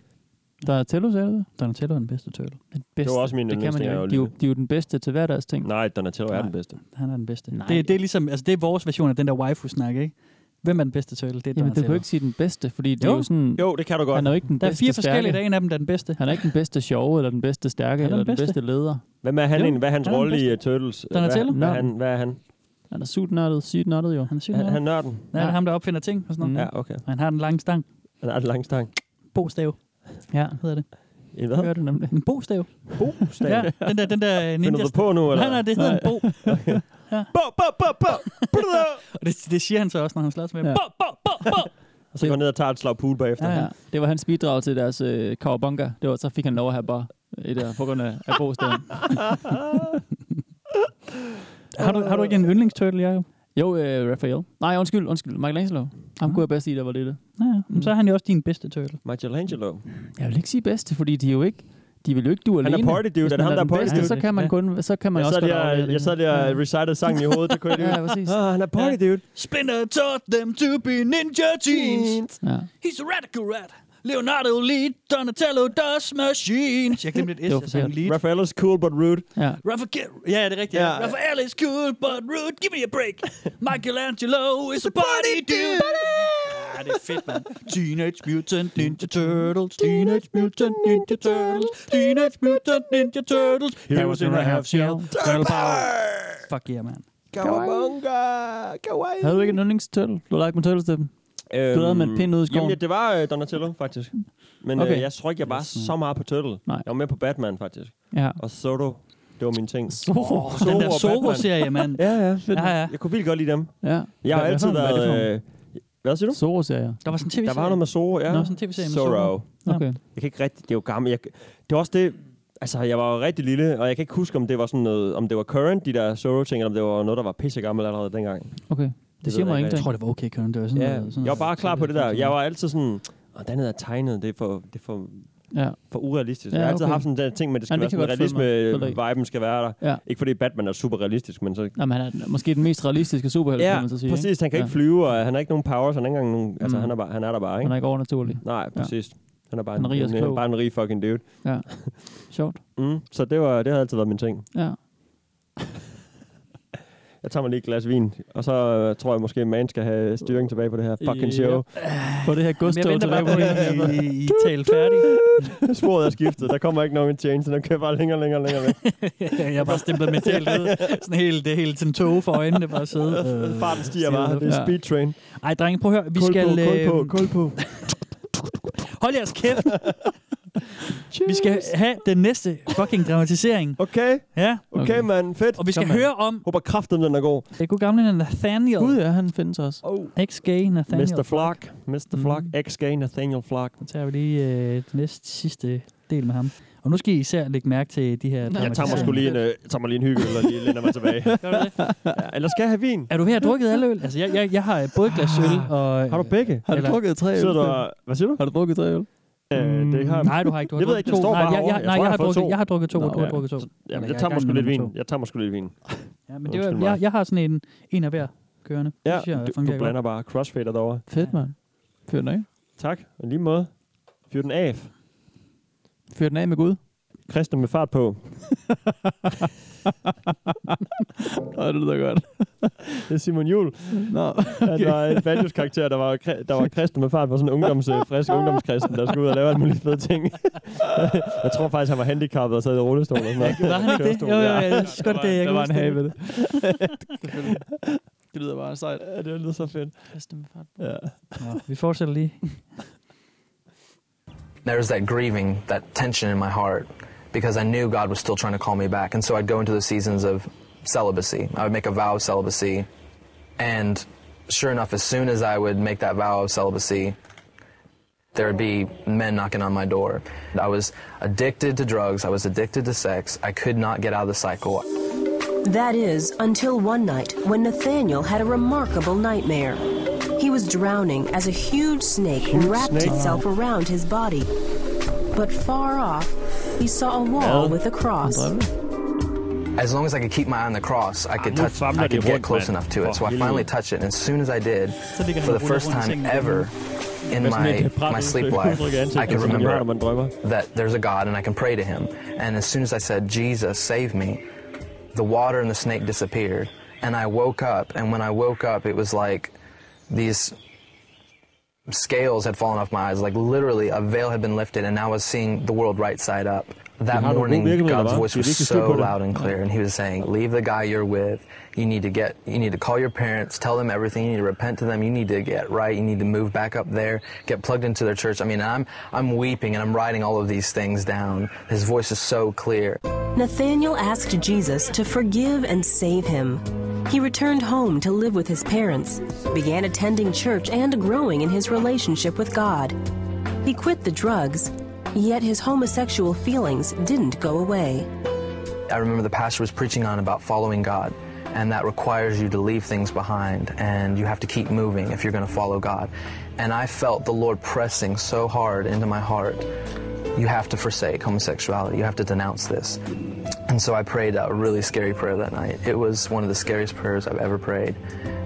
Der er Tello, sagde du det?
Donatello er den bedste turtle.
Den bedste.
også min
det kan man
yndlingsting, jeg
jo
har
ikke. De, er jo-
lyttet.
de er jo den bedste til hverdags ting.
Nej, Donatello er den bedste.
Han er den bedste.
Nej.
Det, det, er ligesom, altså det er vores version af den der waifu-snak, ikke? Hvem er den bedste turtle? Det er
Jamen, du kan
Donatello.
jo ikke sige den bedste, fordi det
Jo.
er jo sådan...
Jo, det kan du godt.
Han er jo ikke den
Der er
bedste
fire forskellige, der
stærke.
er en af dem, der er den bedste.
Han er ikke den bedste sjove, eller den bedste stærke,
Han er
eller
den
den
bedste.
bedste leder.
Hvad er han
Jo,
egentlig? Hvad er hans
han er den
rolle i uh, Turtles?
Donatello?
Hvad, hvad, er han, hvad er han?
Han er sygt nørdet, sygt nørdet jo.
Han er syg.
Han, han er nørden?
Han er ham, der opfinder ting og sådan noget.
Mm.
Ja, okay.
Og han har den lange stang.
Han er et langstang.
Bostav
Ja,
hedder det.
I
det
hvad?
gør det nemlig.
En bostav.
Bostad?
Ja, den der, den der øh,
Finder
ninja.
du på nu, eller?
Nej, nej, det hedder en bo.
Bo, bo, bo, bo!
Og det, det siger han så også, når han slås med
Ja.
ja. bo, bo, bo, bo.
Og så går han ned og tager et slag pool bagefter.
Ja,
Ja, det var hans bidrag til deres øh, kawabonga. Det var, så fik han lov at have bare et der på grund af, af bostaden.
Har du, har du ikke en yndlingsturtle, Jacob?
Jo, øh, Raphael. Nej, undskyld, undskyld. Michelangelo. Ham kunne jeg bedst lide, der var lille.
Ja, ja. Men
Mm.
så er han jo også din bedste turtle.
Michelangelo.
Jeg vil ikke sige bedste, fordi de er jo ikke... De vil jo ikke du
Han
alene.
er party dude.
Hvis
Er det
man
ham, der er
den
party
bedste,
dude?
Så kan man,
Ja.
kun, så kan man
Jeg
også
sad
godt
lige
aflevere det
og- øh, jeg
alene.
sad lige og recitede sangen i hovedet. Det kunne jeg lige.
Ja, præcis.
Ah, han er party dude.
Splinter taught them to be ninja teens.
Ja.
He's a radical rat. Leonardo lead Donatello does machines. Jeg glemte
Det
et
var
S, jeg
forkert.
lead.
Raphael is cool but rude.
ja.
Rafa ja, det er rigtigt.
Ja.
Ja. Raphael is cool, but rude. Give me a break. Michelangelo is a party dude. Ja, det er fedt, mand. Teenage Mutant Ninja Turtles. Teenage Mutant Ninja Turtles. Teenage Mutant Ninja Turtles. He was in a half shell. Turtle power.
Fuck yeah, man.
Kawabunga! Kawaii!
Havde du ikke en yndlingsturtle? Du har lagt med turtles til dem.
Øhm,
Du lavede med en pind ud i skoven.
Jamen, ja, det var øh, Donatello, faktisk. Men okay.
Okay.
øh, jeg tror ikke, jeg var så meget på Turtle.
Nej.
Jeg var med på Batman, faktisk.
Ja.
Og Soto, det var min ting.
Zorro.
Den
Zorro
der
og Batman.
Zorro-serie, mand.
Ja, ja, fedt.
Ja, ja.
Jeg kunne vildt godt lide dem.
Ja.
Jeg har altid
Hvad er det for
været...
nogle?
Øh, hvad siger du?
Zorro-serier.
Der var sådan en tv-serie.
Der var noget med Zorro, ja.
Nå, sådan en tv-serie med
Zorro.
Ja.
Okay.
Jeg kan ikke rigtig... Det er jo gammelt. Jeg, det er også det... Altså, jeg var jo rigtig lille, og jeg kan ikke huske, om det var sådan noget... Om det var current, de der Zorro-ting, eller om det var noget, der var pissegammelt allerede dengang.
Okay.
ved
Det
jeg
siger mig
ikke,
Jeg
ingenting.
tror, det var okay, Køren. Det var sådan
Ja,
noget, sådan
jeg var
noget-
bare klar på det der.
sådan
Jeg var altid sådan, og den er tegnet, det er for, det er for ja. for urealistisk. Ja, okay.
Ja,
Jeg har altid
okay.
haft sådan den ting, men det skal
Ja,
ja,
det kan
være
godt følge mig. Følger dig.
realisme-viben skal være der.
Ja.
Ikke fordi Batman er super realistisk, men så...
Nå, men han er måske den mest realistiske superhelt,
Ja,
kan man så sige.
præcis.
ikke?
Han kan
ja.
ikke flyve, og han har ikke nogen powers. Han er ikke engang nogen... Altså,
Mm.
han, er bare, han er der bare, ikke?
Han er ikke overnaturlig.
Nej,
Ja.
præcis. Han er bare
Han er rig og
en,
klog.
en, bare en rig fucking dude.
Ja. Sjovt.
Mm, så det, var, det har altid været min ting.
Ja.
Jeg tager mig lige et glas vin, og så øh, tror jeg måske, at man skal have styring tilbage på det her fucking show.
På det her godstog
jeg venter
tilbage
bare
på
på,
det.
at
I, I tale færdig.
Sporet er skiftet. Der kommer ikke nogen change, så den kører bare længere og længere og længere væk.
jeg har bare stemplet mentalt ud. Sådan helt, det er helt sådan tåge for øjnene, bare sidde. Øh,
Farten stiger
sidde
bare.
i
Det er
luften.
speed train.
Ej, drenge, prøv at høre. Vi
Kul
skal...
på, kul på,
øh,
kul på.
Hold jeres kæft. vi skal have den næste fucking dramatisering.
Okay.
Ja.
Okay, mand. Fedt.
Og vi skal
Kom, mand.
høre om...
Håber kraften, den er god.
Det er god gamle Nathaniel. Gud,
ja, han findes også.
Oh.
Ex-gay Nathaniel.
Mr. Flock. Mr.
Mm.
Flock. Ex-gay Nathaniel Flock.
Så tager vi lige øh, den næste sidste del med ham. Og nu skal I især lægge mærke til de her
Jeg tager mig sgu lige en, øh, jeg tager mig lige en hygge, eller lige lænder mig tilbage. ja, eller skal jeg have vin?
Er du ved at have drukket alle øl? Altså, jeg, jeg, jeg har øh, både et glas øl og...
Ah. Har du begge?
Øh, Har du Eller- drukket tre øl?
Sidder du, og- hvad siger du? Har du drukket tre øl? Øh, det har,
Nej, du har ikke. Du har
jeg ved
drukket
ikke,
to.
det står
Nej,
bare
jeg- jeg-
over.
nej, jeg
tror,
har
fået
drukket- jeg har drukket to,
Nå,
og du har
ja.
drukket to.
Så-
Eller
Jamen,
jeg er
jeg
i
tager
gang
mig sgu
med
lidt
nummer
vin. Jeg tager mig sgu lidt vin.
Ja, men det
Undskyld
var,
mig.
jeg, jeg har sådan en, en af hver kørende. Det
Ja,
synes jeg
du,
fungerer
du
godt.
blander bare crossfader derovre.
Fedt, mand. Fyr den af.
Tak, og lige måde. Fyr den af.
Fyr den af med Gud.
Kristne med fart på.
Nå, det lyder godt.
det er Simon Juhl.
Nå,
okay. Der var en banjoskarakter, der var, kri- der var kristen med fart på sådan en ungdoms, øh, frisk ungdomskristen, der skulle ud og lave alle mulige fede ting. jeg tror faktisk, han var handicappet og sad i rullestol og sådan noget.
Var han ikke det?
Kørestol,
Jo, jo,
ja.
jo, jeg synes godt, det jeg
der
kan
var en
huske
have ved
det.
det. det lyder bare sejt.
Ja, det lyder så fedt. Ja.
Nå, vi fortsætter lige.
There was that grieving, that tension in my heart because I knew God was still trying to call me back. And so I'd go into the seasons of celibacy. I would make a vow of celibacy. And sure enough, as soon as I would make that vow of celibacy, there would be men knocking on my door. I was addicted to drugs, I was addicted to sex, I could not get out of the cycle.
That is, until one night when Nathaniel had a remarkable nightmare. He was drowning as a huge snake wrapped
snake.
itself around his body. But far off, he saw a wall
Well,
with a cross.
As long as I could keep my eye on the cross, I could
Ah, nu
touch,
famler
I
de
could get
rundt,
close
mand.
enough to
For
it. So I
helvede.
finally touched it, and as soon as I did,
ligger han
for
og
the
ruller
first
rundt
time
i sengen
ever in
Hvad sådan et
my
bræt
my sleep
udtryk,
life,
udtryk i
I
ansigtet,
can
som man har, når man
remember that there's a God and I can pray to Him. And as soon as I said, "Jesus, save me," the water and the snake disappeared, and I woke up. And when I woke up, it was like these scales had fallen off my eyes. Like literally, a veil had been lifted, and I was seeing the world right side up. That
Det har du
morning,
gode virkemidler,
God's
hva'?
voice
Det er
was
vigtigt at stole på
so
det.
loud and clear, and He was saying, "Leave the guy you're with. You need to get. You need to call your parents. Tell them everything. You need to repent to them. You need to get right. You need to move back up there. Get plugged into their church." I mean, I'm I'm weeping and I'm writing all of these things down. His voice is so clear.
Nathaniel asked Jesus to forgive and save him. He returned home to live with his parents, began attending church, and growing in his relationship with God. He quit the drugs, yet his homosexual feelings didn't go away.
I remember the pastor was preaching on about following God, and that requires you to leave things behind, and you have to keep moving if you're going to follow God. And I felt the Lord pressing so hard into my heart. You have to forsake homosexuality. You have to denounce this. And so I prayed a really scary prayer that night. It was one of the scariest prayers I've ever prayed.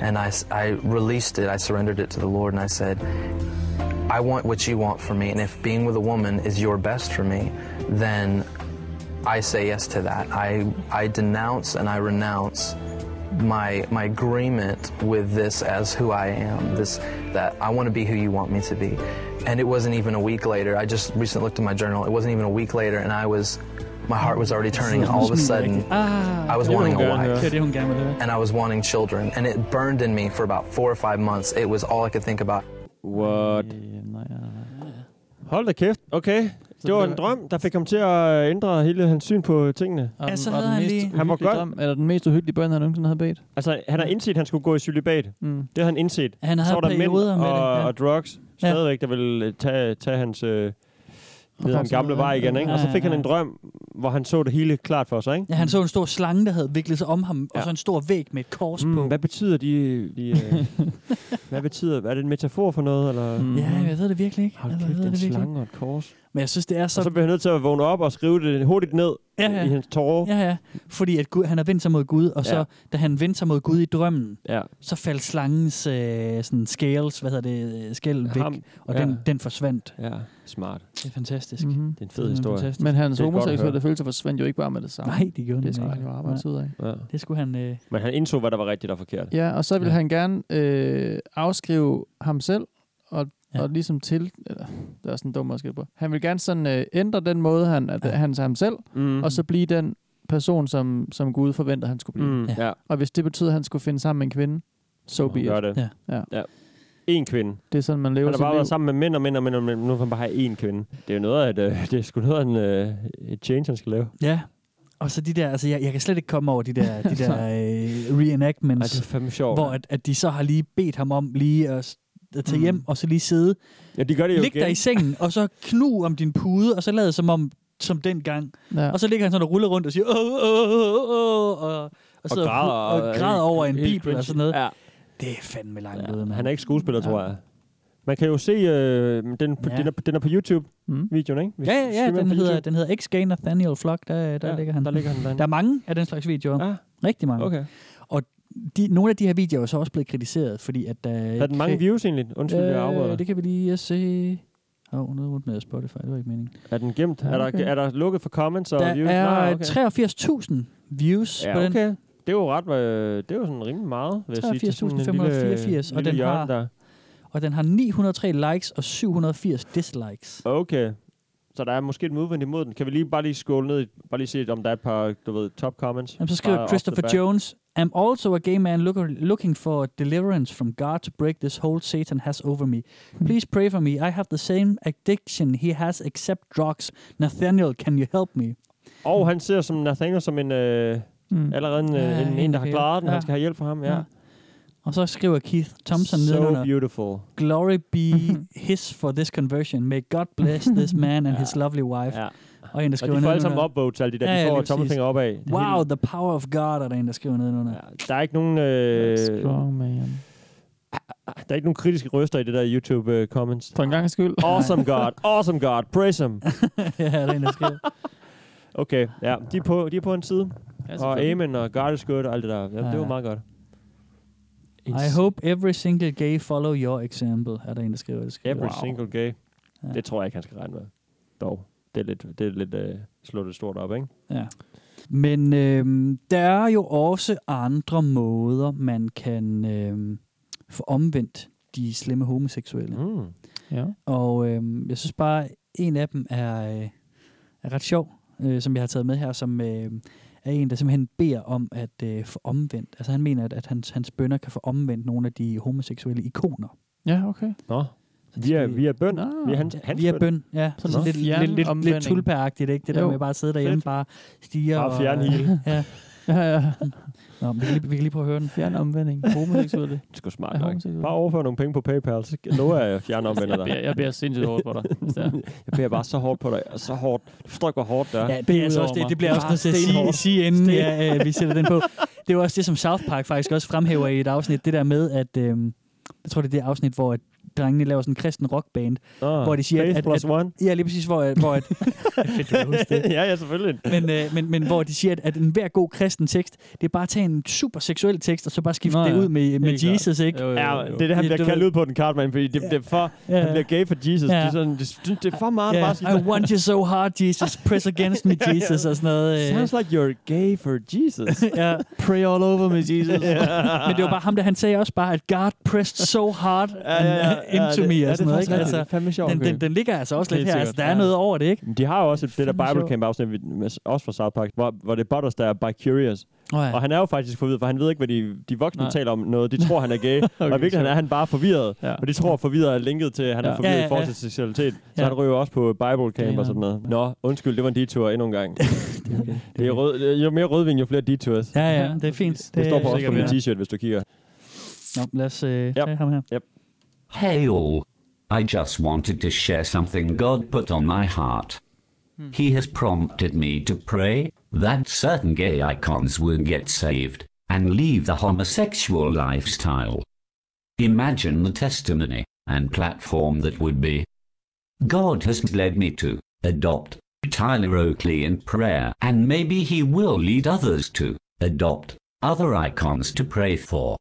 And I, s- I released it, I surrendered it to the Lord, and I said, I want what you want for me, and if being with a woman is your best for me, then I say yes to that. I I denounce and I renounce my my agreement with this as who I am. This that I want to be who you want me to be. And it wasn't even a week later. I just recently looked at my journal. It wasn't even a week later, and I was my heart was already turning. All of a sudden, I was wanting a wife.
Ah. Det er det, hun gerne vil høre.
And I was wanting children, and it burned in me for about four or five months. It was all I could think about.
What?
Øh,
Hold da kæft. Okay. Det var en drøm, der fik ham til at øh, ændre hele hans syn på tingene.
Og den- og den mest
Han var
uhyggelige
godt.
Drøm, eller den mest uhyggelige bøn, han nogensinde havde bedt.
Altså, han har indset, at han skulle gå i celibat.
Mm.
Det har han indset.
Han
Så
havde
var der mænd
perioder
og,
med det, ja.
og drugs stadigvæk, der ville øh, tage, tage hans... Øh, ned ad den gamle vej igen, ikke? Og så fik han en drøm, hvor han så det hele klart for sig, ikke?
Ja, han så en stor slange, der havde viklet sig om ham, ja. og så en stor væg med et kors mm, på.
Hvad betyder de... de øh, hvad betyder... Er det en metafor for noget, eller... Mm.
Ja, jeg ved det virkelig ikke.
Hold
Jeg
kæft,
ved
en
det virkelig
slange og et kors.
Men jeg synes, det er så...
Og så bliver han nødt til at vågne op og skrive det hurtigt ned
Ja, ja.
i hans tårer.
Ja, ja. Fordi at Gud, han har vendt sig mod Gud, og så,
Ja.
ja. da han vendte sig mod Gud i drømmen,
ja.
så faldt slangens øh, sådan scales, hvad hedder det, øh, skæld væk,
Ham.
og
Ja.
den, den forsvandt.
Ja, smart.
Det er fantastisk. Mm-hmm.
Det er en fed historie.
Men hans
Det er godt at høre.
homoseksuelle følelser forsvandt jo ikke bare med det samme.
Nej, det gjorde den
det skulle
ikke.
han jo arbejde sig ud af.
Ja.
Det skulle han... Øh,
Men han indså, hvad der var rigtigt og forkert.
Ja, og så ville ja. han gerne øh, afskrive ham selv, og, ja. og ligesom til... Eller, det er sådan en dum måde at skrive på. Han ville gerne sådan øh, ændre den måde, han, at, ja. han ser ham selv,
mm.
og så blive den person, som, som Gud forventede, han skulle blive.
Mm, Ja. ja.
Og hvis det betød, at han skulle finde sammen med en kvinde, so be it.
Gør det.
Ja. ja.
Ja. En kvinde.
Det er sådan, man lever
Han har
sit
bare været
liv.
sammen med mænd og mænd og mænd, og mænd. nu vil han bare have én kvinde. Det er jo noget af et, øh, det er sgu noget af en, øh, et change, han skal lave.
ja. Og så de der, altså jeg, jeg kan slet ikke komme over de der, de der øh,
Ej,
reenactments,
det er fandme sjovt.
hvor at, at de så har lige bedt ham om lige at, s- at tage
Mm.
mm. hjem, og så lige sidde,
Ja, de gør det jo
Læg
igen.
dig i sengen, og så knu om din pude, og så lad som om som dengang.
Ja.
Ja. Og så ligger han sådan og ruller rundt og siger, åh, åh, åh, åh, og, og, sidder og,
græder,
og,
og
og
er
græder
helt-
over en
helt
bibel
cringe.
og sådan noget.
Ja.
Det er fandme langt ja. ude, mand.
Han er ikke skuespiller, ja. tror jeg. Man kan jo se, øh, den, på,
Ja.
den, er, den er på YouTube, mm. videoen, ikke?
Ja, ja, ja,
streamer
den
på
hedder,
YouTube.
den hedder x gain Nathaniel Flock, der, der,
Ja,
ja, ligger han.
der ligger han derinde.
der er mange af den slags videoer.
Ja.
Rigtig mange.
Okay.
Og de, nogle af de her videoer er så også blevet kritiseret, fordi at... Uh,
Har den mange views egentlig? Undskyld, jeg afbryder.
Øh, Det kan vi lige se. Åh, oh, nu er den med Spotify, det var ikke meningen.
Er den gemt?
Ja,
Er, der,
okay.
er der lukket for comments og
Der
views?
er
Nej, okay.
83.000 views
Ja,
på den.
okay. Det er jo ret, øh, det er jo sådan rimelig meget, vil jeg sige. til sådan en lille-
83.584, og
lille
den
hjørne
har,
Der.
og den har 903 likes og 780 dislikes.
Okay. Så der er måske et movement imod den. Kan vi lige bare lige skåle ned, i- bare lige se, om der er et par, du ved, top comments?
Jamen, så
Bare
skriver
off the
Christopher
bat.
Jones, I'm also a gay man look looking for deliverance from God to break this hold Satan has over me.
Hmm.
Please pray for me. I have the same addiction he has except drugs. Nathaniel, can you help me?
Og han ser som Nathaniel som en, øh, mm.
Mm.
allerede en,
Ja,
ja, en, en,
en,
der har
der-
klaret den.
ja.
Han skal have hjælp fra ham, ja.
Ja. Og så skriver Keith Thompson
so
nedenunder,
beautiful.
Glory be his for this conversion. May God bless this man and his lovely wife.
Ja.
Og en, der
Og
skriver
de får alle sammen
nedenunder,
upvotes, alle de der.
Ja,
de
ja,
får
lige
tommelfinger op af.
Wow, the power of God, er der en, der skriver nedenunder.
Der er ikke nogen... Øh,
Strong man.
der er ikke nogen kritiske røster i det der YouTube-comments.
For en gang skyld.
Awesome God, awesome God, praise him.
ja, der er en, der skriver.
Okay, ja, de er på, de er på en side.
Ja,
og
selvfølgelig.
Amen og God is good og alt det der. Ja,
Ja,
det var
ja.
meget godt.
I hope every single gay follow your example, er der en, der skriver. Det skriver.
Every wow. single gay. Ja. Det tror jeg ikke, han skal regne med. Dog. Det er lidt, det er lidt øh, slå det stort op, ikke?
Ja. Men øhm, der er jo også andre måder, man kan øhm, få omvendt de slemme homoseksuelle.
Mm.
Ja.
Og øhm, jeg synes bare, en af dem er, øh, er ret sjov, øh, som jeg har taget med her, som øh, er en, der simpelthen beder om at øh, få omvendt. Altså han mener, at, at hans, hans bønder kan få omvendt nogle af de homoseksuelle ikoner.
Ja, okay. Ah.
Nå. Vi er, vi er bøn. Vi er hans, hans
Via bøn, ja.
Sådan
Sådan
en
lidt,
fjern
lidt, lidt,
omvending.
lidt tulpeagtigt, ikke? Det der
Jo.
med bare at sidde derhjemme,
Fedt.
bare stiger
Bare
og...
fjernhjul.
ja.
Ja, ja.
Nå, vi kan, lige, vi kan lige prøve at høre den.
Fjern omvending. Homoseksuelle.
Det er sgu
Er
smart nok.
homoseksuel.
Bare overfør nogle penge på PayPal, så lover jeg, at jeg fjerner omvender
Jeg
dig.
beder, jeg beder sindssygt hårdt på dig. hvis det er.
Jeg beder bare så hårdt på dig, og så hårdt. Du forstår ikke, hvor hårdt det er.
Ja, det, er altså
Udover
også det,
mig.
det bliver jeg også nødt til at sige,
stenhårdt.
sige inden ja, øh, vi sætter den på. Det er jo også det, som South Park faktisk også fremhæver i et afsnit. Det der med, at øh, jeg tror, det er det afsnit, hvor at drengene laver sådan en kristen rockband.
Nå,
hvor de siger, at-
Faith
at-
plus
at-
one.
Ja, lige præcis, hvor, at- hvor at, fedt, du kan huske det.
ja, ja, selvfølgelig.
men, øh, men, men hvor de siger, at, at enhver god kristen tekst, det er bare at tage en super seksuel tekst, og så bare skifte
Nå,
Nå, det
ja.
ud med, med
Helt klart.
Jesus, ikke?
Jo, jo,
Ja,
Øh, jo, jo.
det er det, han
Ja,
bliver
du
kaldt
ved-
ud på den Cartman, fordi det, det er for,
Ja.
han bliver gay for Jesus.
Ja.
Det, er sådan, det, synes- det er for meget bare at sige,
Yeah. I want you so hard, Jesus. Press against me,
ja.
Jesus, og sådan noget. øh.
sounds like you're gay for Jesus.
ja.
Pray all over me, Jesus.
Men det var bare ham, der han sagde også bare, at God pressed so hard
Ja, ja, ja.
and- uh, into
Ja, det-
me,
ja, det er
og sådan noget.
faktisk rigtigt.
Ikke? Altså,
Det er fandme sjovt,
den,
okay.
den, den ligger altså også lidt
Helt
her.
sikkert,
Altså, der er
ja.
noget over det, ikke?
Men De har jo også et, det der
Fandme
Bible
sjovt.
Camp afsnit, med- med- også fra South Park, hvor, hvor det er Butters, der er by curious.
Oh, ja.
Og han er jo faktisk forvirret, for han ved ikke, hvad de, de voksne
Nej.
Nej. taler om noget. De tror, han er gay. okay, og i virkeligheden er han bare forvirret.
Ja.
Ja. Og de tror, forvirret er linket til, at han ja.
Ja.
er forvirret ja,
Ja, ja,
ja, i forhold
ja.
til seksualitet. Så
Ja.
han ryger også på Bible Camp
Grineren.
og sådan noget. Nå, undskyld, det var en detur endnu en gang. det er rød, jo mere rødvin, jo flere detours. Ja.
Ja, ja, det er fint.
Det, står på også på min
sikkert,
t-shirt, hvis du kigger.
ja. Nå, lad os øh, tage ham her.
Hail!
I just wanted to share something God put on my heart. He has prompted me to pray that certain gay icons will get saved and leave the homosexual lifestyle. Imagine the testimony and platform that would be. God has led me to adopt Tyler Oakley in prayer, and maybe he will lead others to adopt other icons to pray for.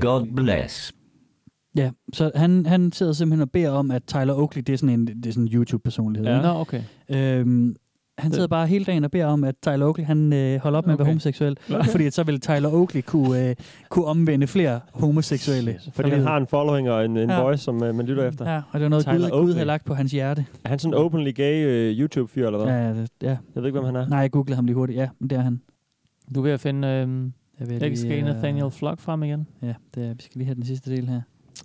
God bless.
Ja, så han, han sidder simpelthen og beder om, at Tyler Oakley, det er sådan en, det er sådan en YouTube-personlighed.
Ja.
ikke?
Nå, okay.
Øhm, han
Det-
sidder bare hele dagen og beder om, at Tyler Oakley, han øh, holder op med at være
Okay.
homoseksuel,
Okay.
fordi at så vil Tyler Oakley kunne, øh, kunne omvende flere homoseksuelle.
Fordi han har en following og en, en
Ja.
ja. voice, som øh, man lytter efter.
Ja, og det var noget,
Tyler
Gud, Gud
Oakley.
havde lagt på hans hjerte.
Er han sådan en openly gay øh, YouTube-fyr, eller hvad?
Ja, ja, det, ja.
Jeg ved ikke, hvem han er.
Nej, jeg googlede ham lige hurtigt. Ja, men det er han.
Du er ved at finde øhm,
vil
XG
lige, øh,
Nathaniel Flock frem igen.
Ja, det er, vi skal lige have den sidste del her.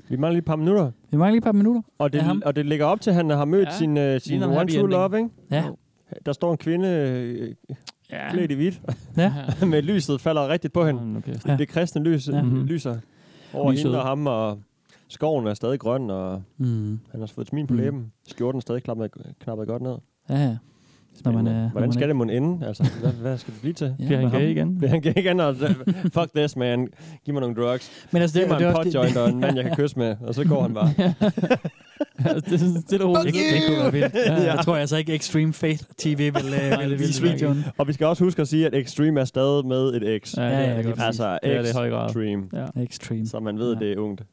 Vi mangler lige et par minutter.
Vi mangler lige et par minutter.
Og det,
Af ham.
og det ligger op til, at han har mødt
Ja.
ja. sin, øh, sin
Ligner en
one
happy
true
ending.
love, ikke?
Ja.
Der står en kvinde øh,
ja.
klædt i hvidt,
ja.
men lyset falder rigtigt på hende.
Okay.
Ja.
Det kristne lys
Ja. Mhm.
ja. lyser over
Lyset.
lyset. hende og ham, og skoven er stadig grøn, og
Mm.
han har fået et smil på
Mm.
læben. Skjorten er stadig knappet, knappet godt ned.
Ja, ja. Når man, øh, når
Hvordan
man
skal
ikke-
det mon ende? Altså, hvad, hvad skal det blive til?
Ja, Bliver han med gay ham. igen?
Bliver han gay igen? Og, fuck this, man. Giv mig nogle drugs.
Men altså, det-
Giv mig
det er
en
også det-
potjoint og en mand, jeg kan kysse med. Og så går han bare.
det er sådan stille og roligt.
Det, det kunne være vildt. Ja,
Ja.
Jeg tror altså ikke, Extreme Faith TV vil,
Nej,
øh,
det
vil
vil
vise
det nok
videoen.
ikke. Og vi skal også huske at sige, at Extreme er stadig med et X.
Ja, ja, ja, lige præcis.
Altså,
Det er det i høj grad.
Extreme.
Ja. Extreme.
Så man ved, at det er ungt.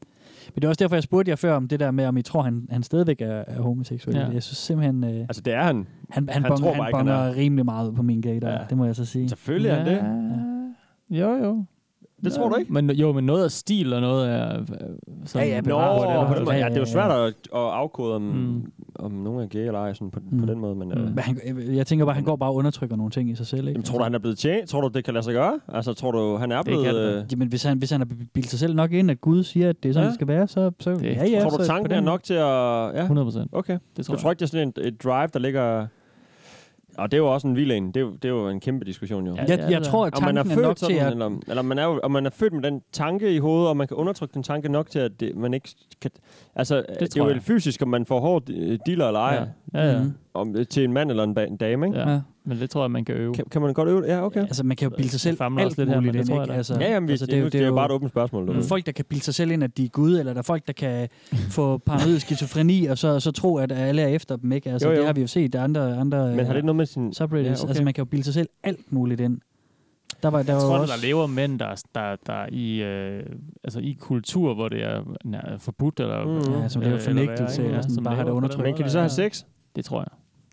Men det er også derfor, jeg spurgte jer før om det der med, om I tror, han, han stadigvæk er, er homoseksuel.
Ja.
Ja. Jeg synes simpelthen... Øh, altså,
det er han.
Han,
Han
han, bonger,
tror
han
bare ikke, han
bonger
er.
rimelig meget ud på min gate, ja. det må jeg så sige.
Selvfølgelig er han det.
Jo, jo.
Det tror du ikke?
Men jo, men noget er stil, og noget er... øh, sådan
Nå,
bevaret på den måde.
på den måde. ja, det er jo svært at, at afkode, om, om nogen er gay eller ej, sådan på, på den måde. Men, øh,
Men han, øh, jeg tænker bare, han går bare og undertrykker nogle ting i sig selv. Ikke?
Tror du, han er blevet tjent? Tror du, det kan lade sig gøre? Altså, tror du, han er blevet... øh,
Altså, Jamen, hvis han, hvis han har bildt sig selv nok ind, at Gud siger, at det er sådan, ja.
Ja.
det skal være, så... så det, ja, ja,
tror du,
så
tanken
på
er
den-
nok til at... Ja.
100%.
Okay.
Det
Det tror
tror jeg.
du tror ikke, det er sådan en, et drive, der ligger... Og det er jo også en vild en. Det er, jo, det er jo en kæmpe diskussion, jo.
Jeg- det er jeg det da. tror, at
Om man
tanken er
født
nok til
sådan,
at-
Eller, om- eller om man er, jo, om man er født med den tanke i hovedet, og man kan undertrykke den tanke nok til, at det, man ikke kan... Altså, det, det er
tror
jo
jeg.
helt fysisk, om man får hård øh, dealer eller ej.
Ja, ja, ja.
Mm,
Mhm. Om, til en mand eller en, ba- en dame, ikke?
Ja. Ja. Men det tror jeg, man kan øve.
Kan, kan man godt øve det? Ja, okay.
Altså, man kan jo bilde sig selv
famler
alt
også lidt her, men
muligt
det
ind,
tror
ikke?
jeg da.
Altså,
Ja, jamen, vi-
altså,
nu- det er jo bare et åbent spørgsmål, du
Mm.
ved.
Folk, der kan bilde sig selv ind, at de er Gud, eller der er folk, der kan få paranoid skizofreni, og så, og så tro, at alle er efter dem, ikke? Altså, jo,
Jo,
jo.
jo.
det har vi jo set. Der er andre, andre øh,
Men har det ikke noget med sin...
subreddits. Ja, okay. Altså, man kan jo bilde sig selv alt muligt ind. Der var, der
jeg
var
tror,
også...
der lever mænd, der, der, der i, øh, altså i kultur, hvor det er nær, forbudt. Eller,
Mhm. Ja, som lever
øh, eller
fornægtelse,
hvad, ikke?
eller sådan
som
bare
lever
har det
på den
undertrykt.
måde,
Men kan de så have
ja.
sex?
Det tror jeg.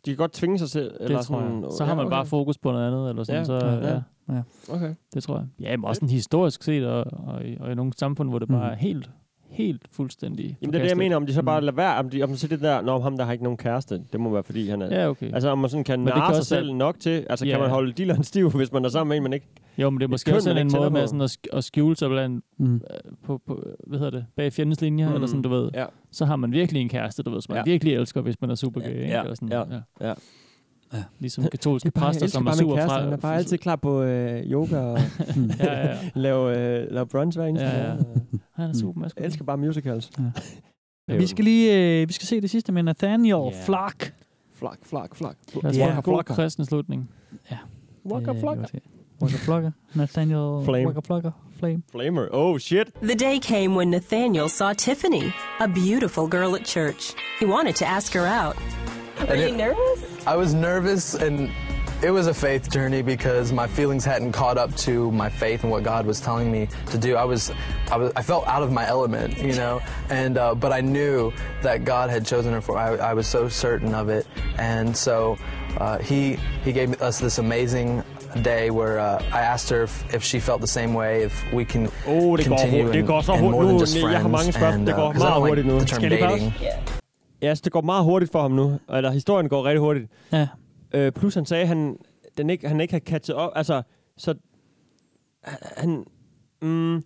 De kan godt tvinge sig selv.
Eller
Eller
det tror
sådan,
jeg. Så har man bare fokus på noget andet. Eller sådan,
Ja,
så,
ja,
ja.
Ja.
Okay.
Det tror jeg. Ja, men også sådan historisk set, og, og, i, og i nogle samfund, hvor det bare er helt, helt fuldstændig
Jamen, det er det, jeg mener, om de så bare
Mm.
lader være, om de om så det der, når ham, der har ikke nogen kæreste, det må være, fordi han er...
Ja, okay.
Altså, om man sådan kan
Men det
narre
kan
sig
også være-
selv nok til, altså,
Ja.
kan man holde dealeren stiv, hvis man er sammen med en, man ikke...
Jo, men det er
et
måske
køn,
også
man
sådan en
ikke
måde
tænder
med
på.
sådan at, sk- at skjule sig blandt,
Mm.
mm. på, på, hvad hedder det, bag fjendens linjer, mm. eller sådan, du ved.
Ja.
Så har man virkelig en kæreste, du ved, som man
Ja.
virkelig elsker, hvis man er super gay, ikke?
ja,
Eller sådan,
ja, ja.
ja.
Ligesom katolske præster, som er super fra...
klar på øh, yoga og
Ja, ja.
lave, øh, lave brunch hver eneste
Ja, ja.
morgen, og-
Han er super maskulin.
elsker bare musicals.
Ja. Vi skal lige øh, vi skal se det sidste med Nathaniel yeah. Flock.
Flak, flak, flak.
Lad os yeah. en god kristen slutning.
Øh,
Waka Flocka. Waka Flocka. Nathaniel
Flame.
Waka Flocka. Flame.
Flamer. Oh, shit.
The day came when Nathaniel saw Tiffany, a beautiful girl at church. He wanted to ask her out.
Are you nervous? I was nervous, and it was a faith journey because my feelings hadn't caught up to my faith and what God was telling me to do. I was, I was, I felt out of my element, you know. And uh, but I knew that God had chosen her for. I, I was so certain of it, and so uh, he he gave us this amazing day where uh, I asked her if, if she felt the same way, if we can
Oh, det går
continue
hurtigt. Det
and-
går så
and
hurtigt
more
nu.
than just
Jeg har
friends,
mange spørgsmål.
and,
Det
uh,
går
'cause I
meget
don't like
hurtigt nu.
the term dating.
Ja, altså, det går meget hurtigt for ham nu. Eller historien går rigtig hurtigt.
Ja.
Øh, plus han sagde, han, den ikke, han ikke har catchet op. Altså, så... Han... Mm,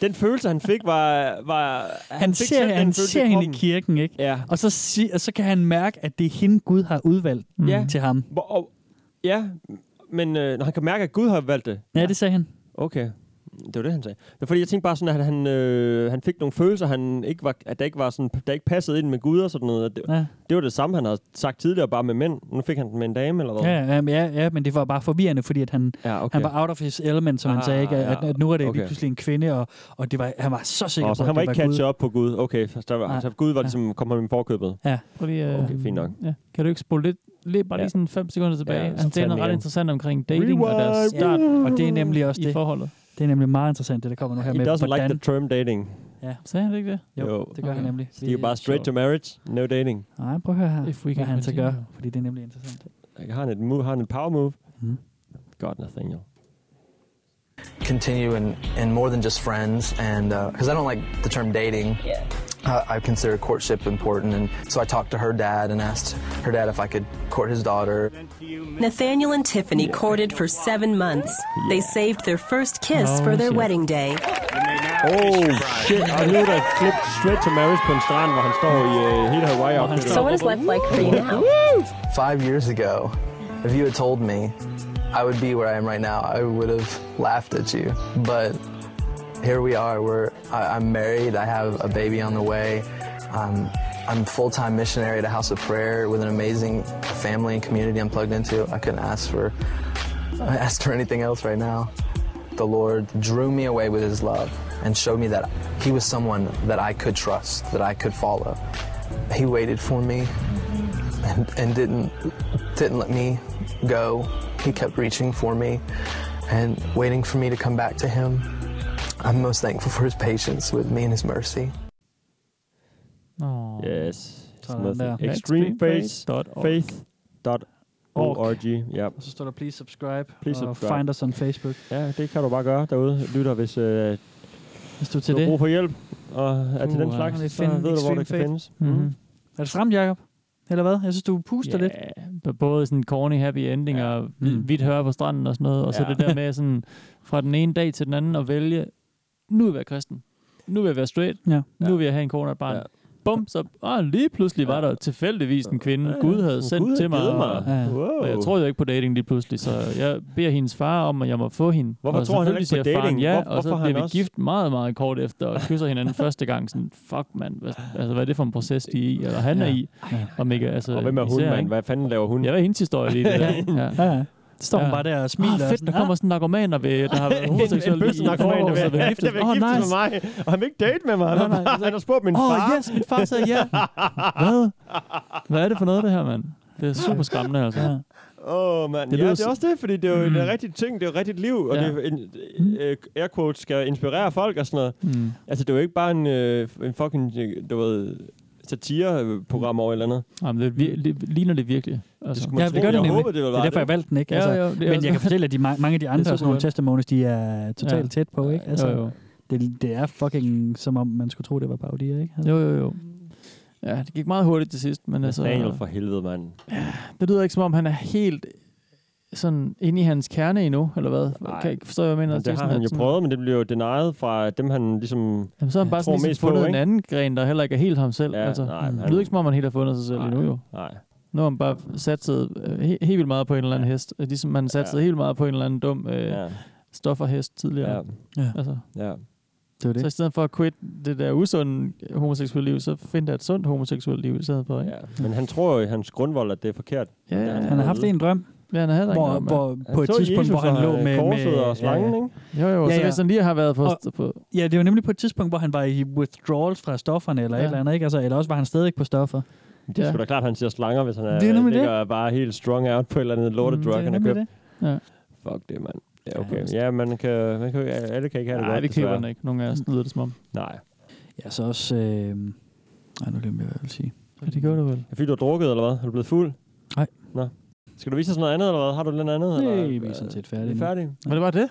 den følelse, han fik, var... var
Han, han
fik
ser,
selv den
han
følelse
ser hende i
kroppen.
kirken, ikke?
Ja.
Og så, si- og så kan han mærke, at det er hende, Gud har udvalgt
Ja.
mm. til ham.
Hvor- Og, ja, men øh, når han kan mærke, at Gud har valgt det.
Ja, det sagde han.
Okay. Det var det, han sagde. Men fordi jeg tænkte bare sådan, at han, øh, han fik nogle følelser, han ikke var, at der ikke, var sådan, der ikke passede ind med Gud og sådan noget. At Det,
Ja.
ja. det var det samme, han havde sagt tidligere, bare med mænd. Nu fik han den med en dame, eller hvad?
Ja, ja, men ja, ja, men det var bare forvirrende, fordi at han,
Ja,
okay. han var out of his element, som ah, han
Ah,
sagde, ikke? At,
ja.
at nu er det okay. lige
Okay.
pludselig en kvinde, og, og det var, han var så sikker
Og så
på,
han
at
var
det
ikke catchet
Gud.
op på Gud. Okay, så, der var,
Nej.
så Gud var ligesom, kom ham i forkøbet.
Ja.
Prøv lige, øh,
Okay, fint nok.
Ja. Kan du ikke spole lidt, lidt bare lige
Ja.
sådan 5 sekunder tilbage?
Ja,
Ja,
så
han
tag
sagde
den
noget ret
igen.
interessant omkring dating og deres
Ja,
start.
og det er nemlig også
i
det.
forholdet.
Det er nemlig meget interessant, det der kommer nu her
He
med,
doesn't like the term dating.
Ja.
Sagde han ikke det?
Jo, det gør han nemlig.
Så de er bare straight to marriage, no dating.
Nej, prøv at høre her,
If we
hvad
can
han så
continue.
gør, fordi det er nemlig interessant.
Jeg har han et, move, har han et power move? Mm. God, Nathaniel.
continue in, in more than just friends and because i don't like the term dating yeah. I, I consider courtship important and so i talked to her dad and asked her dad if i could court his daughter
Nathaniel and Tiffany courted for seven months. They saved their first kiss
Oh,
for their
shit.
wedding day.
Oh shit, og nu er der et klip straight to marriage på en strand, hvor han står i uh, hele Hawaii. Og
So what is life like for you now?
five years ago if you had told me i would be where i am right now i would have laughed at you but here we are we're I, i'm married i have a baby on the way um, i'm full-time missionary at a house of prayer with an amazing family and community i'm plugged into i couldn't ask for I asked for anything else right now. The Lord drew me away with His love and showed me that He was someone that I could trust, that I could follow. He waited for me and, and didn't didn't let me go. He kept reaching for me and waiting for me to come back to Him. I'm most thankful for His patience with me and His mercy.
Oh.
Yes.
Sådan
Sådan
der.
der. Extremefaith.org. Faith.org. Ja.
Og så står der, please subscribe,
Please
og
subscribe.
find us on Facebook.
Ja, det kan du bare gøre derude, lytter, hvis, øh,
hvis du er
til du har
det.
brug for hjælp og er
øh,
til den slags, så ved du, hvor det kan findes. Mm.
Mm-hmm.
Mm.
oh.
Er det stramt, Jacob? Eller hvad? Jeg synes, du puster lidt.
B- Både sådan corny happy ending ja. og mm. vidt høre på stranden og sådan noget. Og så
Ja.
det der med sådan fra den ene dag til den anden at vælge, nu vil jeg være kristen. Nu vil jeg være straight.
Ja.
Nu vil jeg have en kone og et barn. Ja. Bum, så åh, lige pludselig var der tilfældigvis en kvinde, Gud havde sendt
Gud
til mig.
havde givet
Og,
mig. Ja.
og jeg
Wow.
troede jo ikke på dating lige pludselig, så jeg beder hendes far om, at jeg må få hende.
Hvorfor
og
tror han heller
selvfølgelig
ikke på
siger faren
dating?
Ja,
Hvor-
og så
hvorfor har
bliver
han
vi
også-
gift meget, meget kort efter og kysser hinanden første gang. Sådan, fuck mand, hvad, altså, hvad er det for en proces, de er i? Eller han er
Ja.
i? Og, mega, altså,
Og hvem er hun,
især,
mand?
ikke?
Hvad fanden laver hun?
Jeg var hendes historie lige det der.
Ja. ja. Så står hun bare der og smiler
Oh,
og
fedt,
sådan,
der kommer sådan narkomaner, ved, der har været
En-
homoseksuelle
en bøssenarkoman, der vil-
så vil
der
giftes.
vil
Åh,
giftes med
nice.
mig. Og han vil ikke date med mig. Han
Nej,
har
nej,
bare-
så-
han har spurgt min
Åh,
far.
Ah, yes, min far sagde ja. Hvad? Hvad er det for noget, det her, mand? Det er super skræmmende, altså. Ja.
Åh, oh, mand.
Det
Det ja,
lyder
det er
så-
også det, fordi det er jo en øh,
Mm.
rigtig ting, det er jo et rigtigt liv, og
Ja.
ja. det er en, øh, air quotes skal inspirere folk og sådan noget.
Mm.
Altså, det er jo ikke bare en, øh, en fucking, øh, du ved, satireprogram over et eller andet.
Jamen, det, vir- det ligner det virkelig. Altså.
skulle man Ja, det tro. gør det Jeg nemlig. håber, det vil
det er
være
derfor,
det.
jeg valgte den, ikke?
Ja,
Altså,
jo, det er
men
også-
jeg kan fortælle, at de, ma- mange af de
Det er
andre sådan nogle
supergodt.
testimonies, de er totalt
Ja.
tæt på, ikke? Altså,
Altså.
Jo, jo.
Det, det er fucking, som om man skulle tro, det var parodier, ikke? Altså,
Jo, jo, jo. Ja, det gik meget hurtigt til sidst, men altså...
Nathaniel for helvede, mand.
Det lyder ikke, som om han er helt sådan inde i hans kerne endnu, eller hvad? Nej. Kan ikke forstå, hvad jeg mener.
Men
er
det har
sådan,
han
at
jo
sådan-
prøvet, men det blev jo denied fra dem, han ligesom
Jamen, så har han
tror
bare sådan ligesom
mest på,
fundet en
ikke?
anden gren, der heller ikke er helt ham selv. Ja, altså,
nej,
mm.
han-
Det lyder ikke, som om han helt har fundet sig selv endnu, jo.
Nej.
Nu har han bare satset øh, he- helt vildt meget på en eller anden hest. Øh, Ligesom han satsede helt meget på en eller anden dum øh,
Ja.
stofferhest tidligere.
Ja. Ja.
Altså,
Ja.
Det var det.
Så i stedet for at quit det der usunde øh, homoseksuelle liv, så find der et sundt homoseksuelt liv i stedet for. Ikke?
Ja. Men han tror jo i hans grundvold, at det er forkert.
Ja, ja,
Han har haft en drøm,
Ja, han havde
hvor,
en drøm, ja.
hvor
Han
på et
så
tidspunkt,
Jesus
hvor han
og,
lå
øh,
med...
korset
med,
og slangen,
ja.
ikke? Jo, jo, så hvis han lige har været på- på-
Ja, det var nemlig på et tidspunkt, hvor han var i withdrawals fra stofferne, eller ja.
Ja.
et eller andet, ikke? Altså, eller også var han stadig på stoffer.
Det er sgu da klart, at han siger slanger, hvis han er,
Det er nemlig det.
ligger bare helt strong out på et eller andet lortet
Mm,
mm,
det er
drug, han har
nemlig
købt.
Det. Ja.
Fuck det, mand. Ja, okay. Ja, man kan, man kan, alle kan ikke have det
Nej,
godt,
vi køber
desværre.
den ikke. Nogle af os lyder det som om.
Nej.
Ja, så også... Øh... Ej, nu glemte jeg, hvad jeg ville sige.
Ja, det gør du vel.
Er det fordi, du har drukket, eller hvad? Er du blevet fuld?
Nej.
Nå. Skal du vise os noget andet, eller hvad? Har du noget andet?
Nej,
eller?
vi er sådan set
Er
færdige
vi
nu.
færdige?
Var det bare det?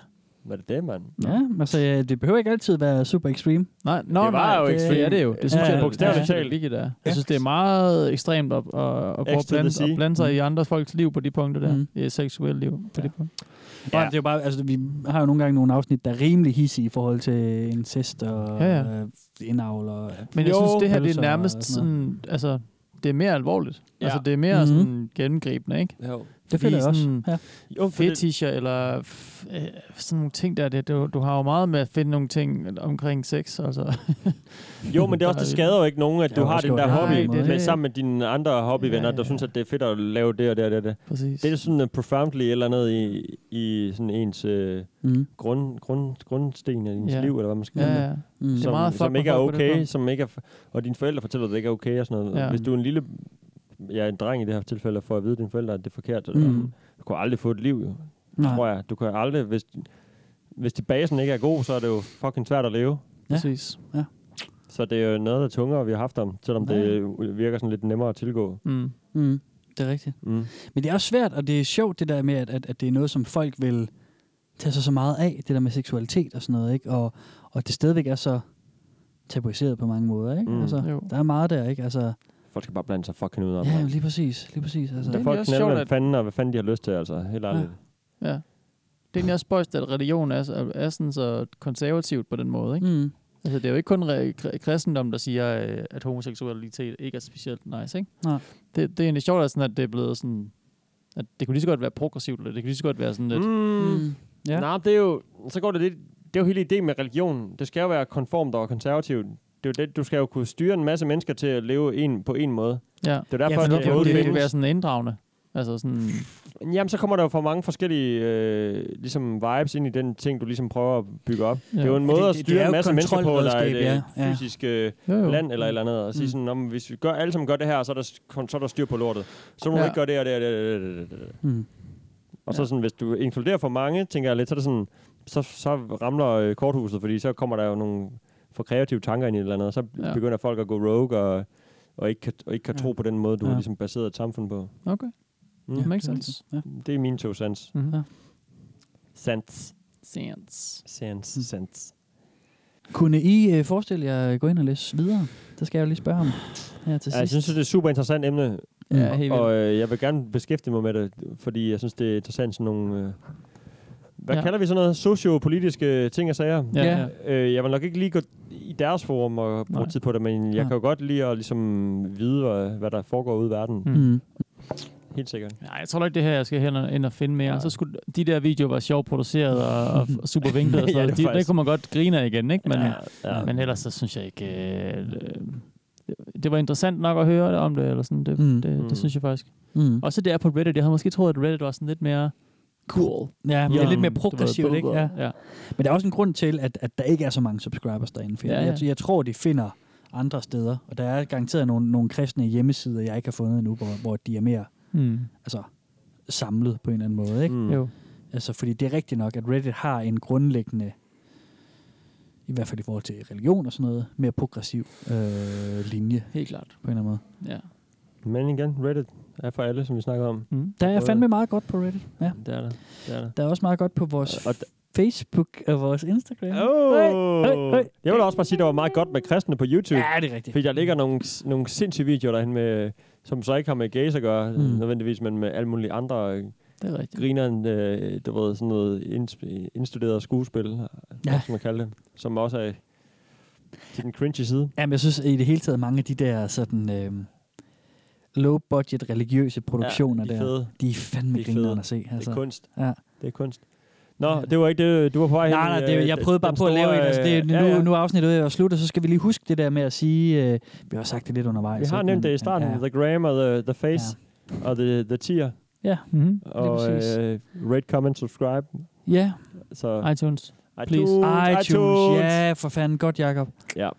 Var det det, mand?
Ja, altså, ja, det behøver ikke altid være super extreme.
Nej, nå,
Det var
nej,
jo
det,
extreme.
Ja, det er jo.
Ja,
Det synes
ja,
jeg
bogstaveligt
bogstaveligt
talt.
talt. Det er. Jeg synes, det er meget ekstremt at, at, at, gå
X
og
to the
blande,
sea.
at blande sig i andres folks liv på de punkter der.
Mm.
Mm. I seksuelle liv på ja. de punkter.
Ja. det er jo bare, altså, vi har jo nogle gange nogle afsnit, der er rimelig hissige i forhold til incest og
Ja,
ja,
ja.
ja. indavl og
Men jeg
Jo,
synes, det her det
pølser
er
og
nærmest
sådan noget.
sådan, altså, det er mere alvorligt. Altså, det er mere mm-hmm. sådan gennemgribende, ikke?
Jo.
Fordi
Det føler jeg også.
sådan
Ja.
Jo, fetischer eller f- øh, sådan nogle ting der, det, du, du har jo meget med at finde nogle ting omkring sex, altså.
Jo, men det, er også, det skader jo ikke nogen, at
Ja,
du har
også
den der
godt.
hobby
Nej, det er
med,
det.
sammen med dine andre hobbyvenner, ja, ja, ja. der synes, at det er fedt at lave det og det og det. Og det.
Præcis.
det er sådan uh, profoundly et eller andet i, i sådan ens uh,
mm.
grund, grund, grundsten af ens
Ja.
liv, eller hvad man skal
Ja,
kalde
ja.
det.
Mm. Det er
Som,
meget fuck
som
med
ikke er
folk på det
okay,
punkt.
som ikke er, f- og dine forældre fortæller, at det ikke er okay og sådan noget.
Ja.
Hvis du er en lille ja, en dreng i det her tilfælde, får at vide af dine forældre, at det er forkert.
Mm.
Mm. Du kan aldrig få et liv, jo.
Nej.
Tror jeg. Du kan aldrig, hvis, hvis de basen ikke er god, så er det jo fucking svært at leve.
Præcis.
Ja.
Så det er jo noget, der er tungere, vi har haft om, selvom ja. det virker sådan lidt nemmere at tilgå.
Mm.
Mm. Det er rigtigt.
Mm.
Men det er også svært, og det er sjovt det der med, at, at, at det er noget, som folk vil tage sig så meget af, det der med seksualitet og sådan noget, ikke? Og, og at det stadigvæk er så tabuiseret på mange måder, ikke?
Mm.
Altså,
Jo.
der er meget der, ikke? Altså,
Folk skal bare blande sig fucking ud om
ja, lige præcis, lige præcis. Altså.
Der folk knælder, hvad fanden og hvad fanden de har lyst til, altså. Helt ærligt.
Ja. Det er egentlig også spøjst, at religion er, så- er sådan så konservativt på den måde, ikke?
Mm.
Altså, det er jo ikke kun re- kri- kristendom, der siger, øh, at homoseksualitet ikke er specielt nice, ikke?
Nej.
Det, det er egentlig sjovt, at, sådan, at det er blevet sådan... At det kunne lige så godt være progressivt, eller det kunne lige så godt være sådan lidt...
Mm.
Ja.
Nej, det er jo, så går det lidt, det er jo hele ideen med religion. Det skal jo være konformt og konservativt. Det er jo det, du skal jo kunne styre en masse mennesker til at leve en, på en måde.
Ja.
Det er
ja,
derfor,
men
ja,
hvorfor
det,
kunne
det,
det
det,
ikke være sådan inddragende? Altså sådan...
Jamen, så kommer der jo for mange forskellige øh, ligesom vibes ind i den ting, du ligesom prøver at bygge op.
Ja.
Ja. Det er jo en
Ja,
måde
det-
at
det- det
styre
er jo
en masse mennesker på, eller et
kontrolredskab,
ja.
ja. Ja.
fysisk øh,
Jo, jo.
land eller et eller andet, og sige
Mm.
sådan, om hvis vi gør alle sammen gør det her, så er der, s- kon- så er der styr på lortet. Så må ja. vi
Ja.
ikke gøre det her, det her, det her, det her, det her, det her.
Mm.
Og så sådan, hvis du inkluderer for mange, tænker jeg lidt, så er det sådan, så, så ramler øh, korthuset, fordi så kommer der jo nogle for kreative tanker ind i et eller andet, og så
Ja.
begynder folk at gå rogue, og, og ikke kan, og ikke kan ja. tro på den måde, du
Ja.
ja. har ligesom baseret et samfund på.
Okay.
Mm.
Makes sense.
Ja.
Det er mine to cents.
Mhm. Ja.
Cents.
Sands. Mm.
Cents. Cents.
Kunne I øh, forestille jer at gå ind og læse videre? Det skal jeg jo lige spørge om her til
Ja, jeg
sidst. Mm.
synes, det er et super interessant emne,
Ja,
og-
helt vildt.
og øh, jeg vil gerne beskæftige mig med det, fordi jeg synes, det er interessant sådan nogle... Øh, hvad
Ja.
ja. kalder vi sådan noget? Sociopolitiske ting og sager.
Ja. Ja.
Øh, jeg vil nok ikke lige gå i deres forum og bruge
Nej.
tid på det, men jeg
Nej.
kan jo godt lide at ligesom vide, hvad, hvad der foregår ude i verden.
Mm.
Helt sikkert.
Nej, jeg tror nok, det her, jeg skal hen og, ind og finde mere. Ja. Så skulle, de der videoer var sjovt produceret og, og, og super vinklet og
Ja, det
sådan ja,
var
det, de, det
faktisk-
kunne man godt grine af igen, ikke? Men, ja,
Ja,
ja.
ja.
men ellers så synes jeg ikke... Øh, det- det var interessant nok at høre om det, eller sådan. Det, mm.
Mm.
det, det,
Mm.
det synes jeg faktisk.
Mm.
Også det er på Reddit. Jeg havde måske troet, at Reddit var sådan lidt mere cool.
Ja, men det er lidt mere
Du ved,
progressivt, ikke?
booker. ja.
Men der er også en grund til, at, at der ikke er så mange subscribers derinde. For
Ja,
ja,
ja.
ja. Jeg, jeg tror, de finder andre steder. Og der er garanteret nogle, nogle kristne hjemmesider, jeg ikke har fundet endnu, hvor, hvor de er mere
Mm.
altså, samlet på en eller anden måde. Ikke?
Mm. Jo.
Altså, fordi det er rigtigt nok, at Reddit har en grundlæggende, i hvert fald i forhold til religion og sådan noget, mere progressiv øh, linje.
Helt klart.
På en eller anden måde.
Ja.
Men igen, Reddit er for alle, som vi snakker om.
Mm.
Der er
Både-
fandme meget godt på Reddit. Ja.
Det er der. Det er der.
Der er også meget godt på vores Facebook og vores Instagram.
Oh.
Hey, hey, hey.
Jeg vil også bare sige, at det var meget godt med kristne på YouTube.
Ja, det er rigtigt.
Fordi der ligger nogle, nogle sindssyge videoer derhen med, som så ikke har med gays at gøre, mm. nødvendigvis, men med alle mulige andre øh,
Det er rigtigt.
grineren, øh, du ved, sådan noget indsp- indstuderet skuespil, ja. som man kalder det, som også er til den cringy side.
Jamen, jeg synes i det hele taget, mange af de der sådan øh, low-budget religiøse produktioner
de er
der,
fede.
de er fandme
De er
grinerende
fede.
at se.
Det er kunst.
altså. Ja.
Det er kunst. Nå, det var ikke det, du var på vej
Nej,
hen i,
nej, det,
øh,
jeg
den-
prøvede bare
den
på at lave
store,
en. Altså, det,
øh,
nu,
ja, ja.
nu er afsnittet ved at være slut, og så skal vi lige huske det der med at sige, øh, vi har sagt det lidt undervejs.
Vi har
ikke?
nævnt
Men-
det i starten,
Ja,
The Gram og The, the Face ja. og The, the Tier.
ja. Mm-hmm.
Og øh, rate, comment, subscribe.
Ja.
Så
iTunes.
iTunes,
iTunes.
iTunes.
Ja, for fanden. Godt, Jacob.
Ja.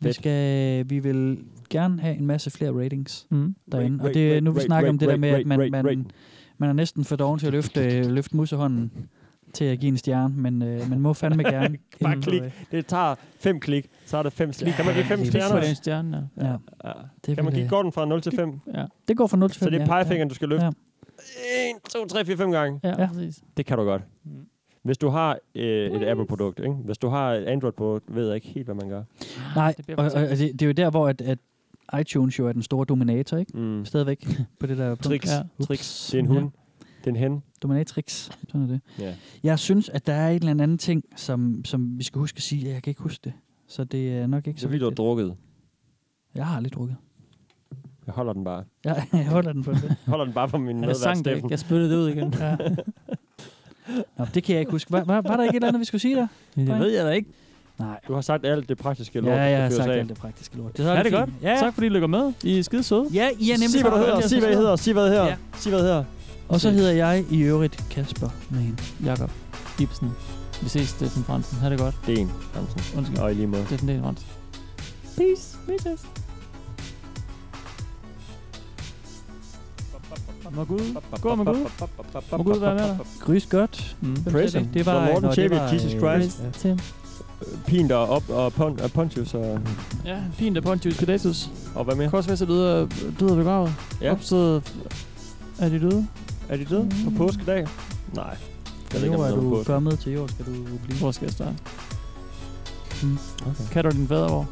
Vi, skal, vi vil gerne have en masse flere ratings
mm.
derinde.
Rate,
og det,
rate,
nu vi
rate,
snakker om
rate,
det der
rate,
med, at
rate,
man,
rate,
man,
rate.
man er næsten for doven til at løfte, øh, løfte musehånden til at give en stjerne, men øh, man må fandme gerne.
Bare
ind på,
klik.
øh,
Det tager fem klik, så er der fem klik. Kan man give fem
lige
stjerner?
præcis. På den
stjerne,
ja. Ja.
ja.
Det
Kan man
vil,
give
øh,
Gordon fra 0 til 5?
Ja.
Det går fra 0 til 5.
Så det er
ja.
pegefingeren, du skal løfte.
Ja.
1, 2, 3, 4, 5 gange.
Ja, ja. præcis.
Det kan du godt. Hvis du har øh, et Apple-produkt, ikke? hvis du har et Android-produkt, ved jeg ikke helt, hvad man gør.
Nej,
Det bliver
og, og,
for
og det, det er jo der, hvor at, at iTunes jo er den store dominator, ikke?
Mm.
Stadigvæk på det der punkt.
Tricks.
Ja.
Ja. Tricks. Det er en hund. Det er en hen.
Dominatrix. Sådan er det.
Ja.
Jeg synes, at der er et eller andet ting, som, som vi skal huske at sige. Jeg kan ikke huske det, så det er nok ikke
Så
så
bliver du
vigtigt.
drukket.
Jeg har aldrig drukket.
Jeg holder den bare.
Ja, jeg holder den på det.
holder den bare på min
Han er
medvært
sang det ikke.
Steffen.
Jeg spyttede det ud igen. ja.
Nå, det kan jeg ikke huske. Var, var, var der ikke et eller andet, vi skulle sige der?
Det
Brian?
ved jeg da ikke.
Nej.
Du har sagt alt det praktiske lort.
Ja,
der
jeg har
fyres
sagt
af.
alt det praktiske lort.
Det er,
så
er det
fint.
godt.
Ja.
Tak fordi I lykker med. I er skide søde.
Ja, I er nemlig
Sig, hvad du
bare
hedder.
vælger
Sig, hvad I
at
hedder. Sig, hvad I hedder.
Ja.
Sig, hvad I hedder.
Og så hedder jeg i øvrigt Kasper Mann.
Jakob Ibsen. Vi ses, Steffen Fransen. Ha' det godt.
Det er en, Hansen.
Undskyld.
Og i lige måde.
Steffen Dane Fransen.
Peace. Vi ses.
Må Gud. Gå med Gud. Må Gud være med dig.
Grys godt.
Mm.
Praise him.
Det var
Lord Morten
Nå, det
Chevy,
var,
Jesus
øh,
Christ. Øh,
Ja.
Pint og op og, pon, og Pontius og...
Ja, fint af Pontius Pilatus.
Og hvad mere?
Korsmæssigt lyder død og begravet.
Ja.
Opstået. Er de døde?
Er de døde? På påskedag? Nej. Jeg ved ikke,
Nu
om
er
der
du
påske.
kommet til jord, skal du blive.
Hvor skal jeg starte? Mm. Okay. Kan du din fadervor?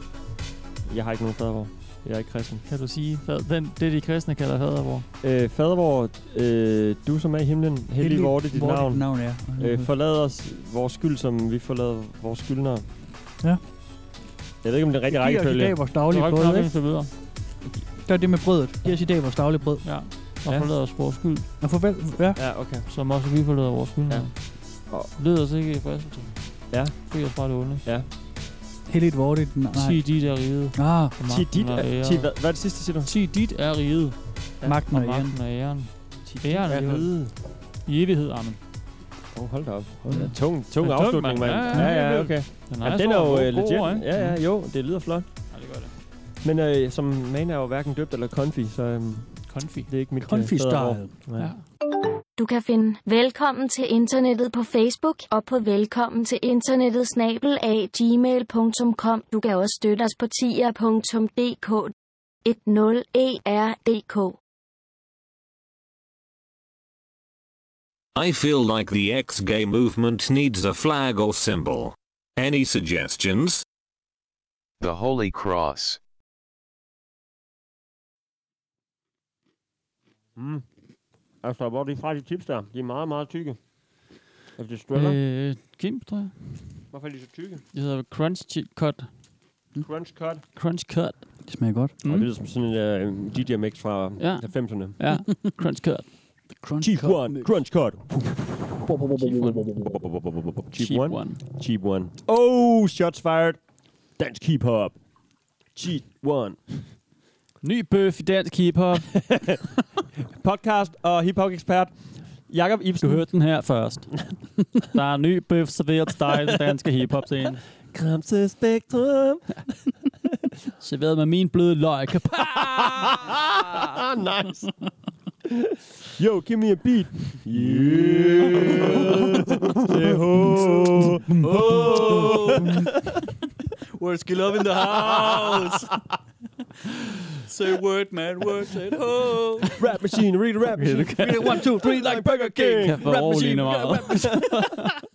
Jeg har ikke nogen fadervor. Jeg er ikke kristen.
Kan du sige, fad- den, det de kristne kalder fadervor?
Øh, fadervor, øh, du som er i himlen, hellig
Hellig
vor det dit
vor det
navn.
dit navn er.
Øh, forlad os vores skyld, som vi forlader vores skyldnere.
Ja.
Jeg ved ikke, om det er rigtig
Giv os i
rækkefølge.
dag vores daglige
Det er
brød,
rækkefølge,
ikke?
så videre.
Gør det med brødet. Giv os i dag vores daglige brød.
Ja. Og ja. forlader os vores skyld.
Og farvel. Ja.
Ja, okay.
Som også vi forlader vores skyld. Ja.
Og
led os ikke i fristelse.
Ja.
Fri os fra det onde.
Ja.
Helligt vortigt. Nej.
Sig dit er riget.
Ah.
Sig dit er- sig hvad- er det sidste, siger du?
Sig dit er riget.
Ja. Magten og æren.
Magten og æren.
dit
Æren
er
er riget. I evighed, amen.
Åh, oh, hold da op.
Hold da.
Ja, tung tung
Det er tungt,
afslutning, mand.
mand.
Ja, ja, ja, okay.
Den er
ja,
nice
den er
ord.
jo
Gode
øh, legit.
ord, ikke?
Ja, ja,
Mm.
jo, det lyder flot.
Ja, det gør det.
Men øh, som man er jo hverken døbt eller konfi, så øhm,
konfi.
det er ikke mit øh,
Konfi-style.
fadervor. Ja.
Du kan finde Velkommen til internettet på Facebook og på velkommen til internettet snabel af gmail.com. Du kan også støtte os på tier.dk 10erdk.
I feel like the ex-gay movement needs a flag or symbol. Any suggestions?
The Holy Cross.
Mm. Altså, hvor er de fra de tips der? De er meget, meget tykke. Efter Strella. Øh. Mm.
Øh, Kim, tror jeg.
Hvorfor er de så tykke?
Det hedder Crunch Chi- Cut.
Crunch cut.
Crunch Cut.
Det smager godt.
Mm. Og det lyder som sådan en uh, DJ mix fra
Ja.
ja. 90'erne.
Ja, Crunch Cut.
Crunch
Cheap
Cut
one. Crunch cut. Cheap,
Cheap
one.
one.
Cheap one. Oh, shots fired. Dansk hip hop. Cheap one.
Ny bøf i dansk hip hop.
Podcast og hip hop ekspert. Jakob Ibsen.
Du hørte den her først. Der er en ny bøf serveret style i den danske hiphop scene.
Kram til spektrum.
serveret med min bløde løg.
nice. Yo, give me a beat. Yeah. Say ho.
Words get love in the house. say word, man. Word, say it. Oh.
Rap machine. Read a rap machine.
Read it, one, two, three, like Burger King.
Jeg får
Rap
rolig
machine.
nu
yeah,
meget.
Rap machine.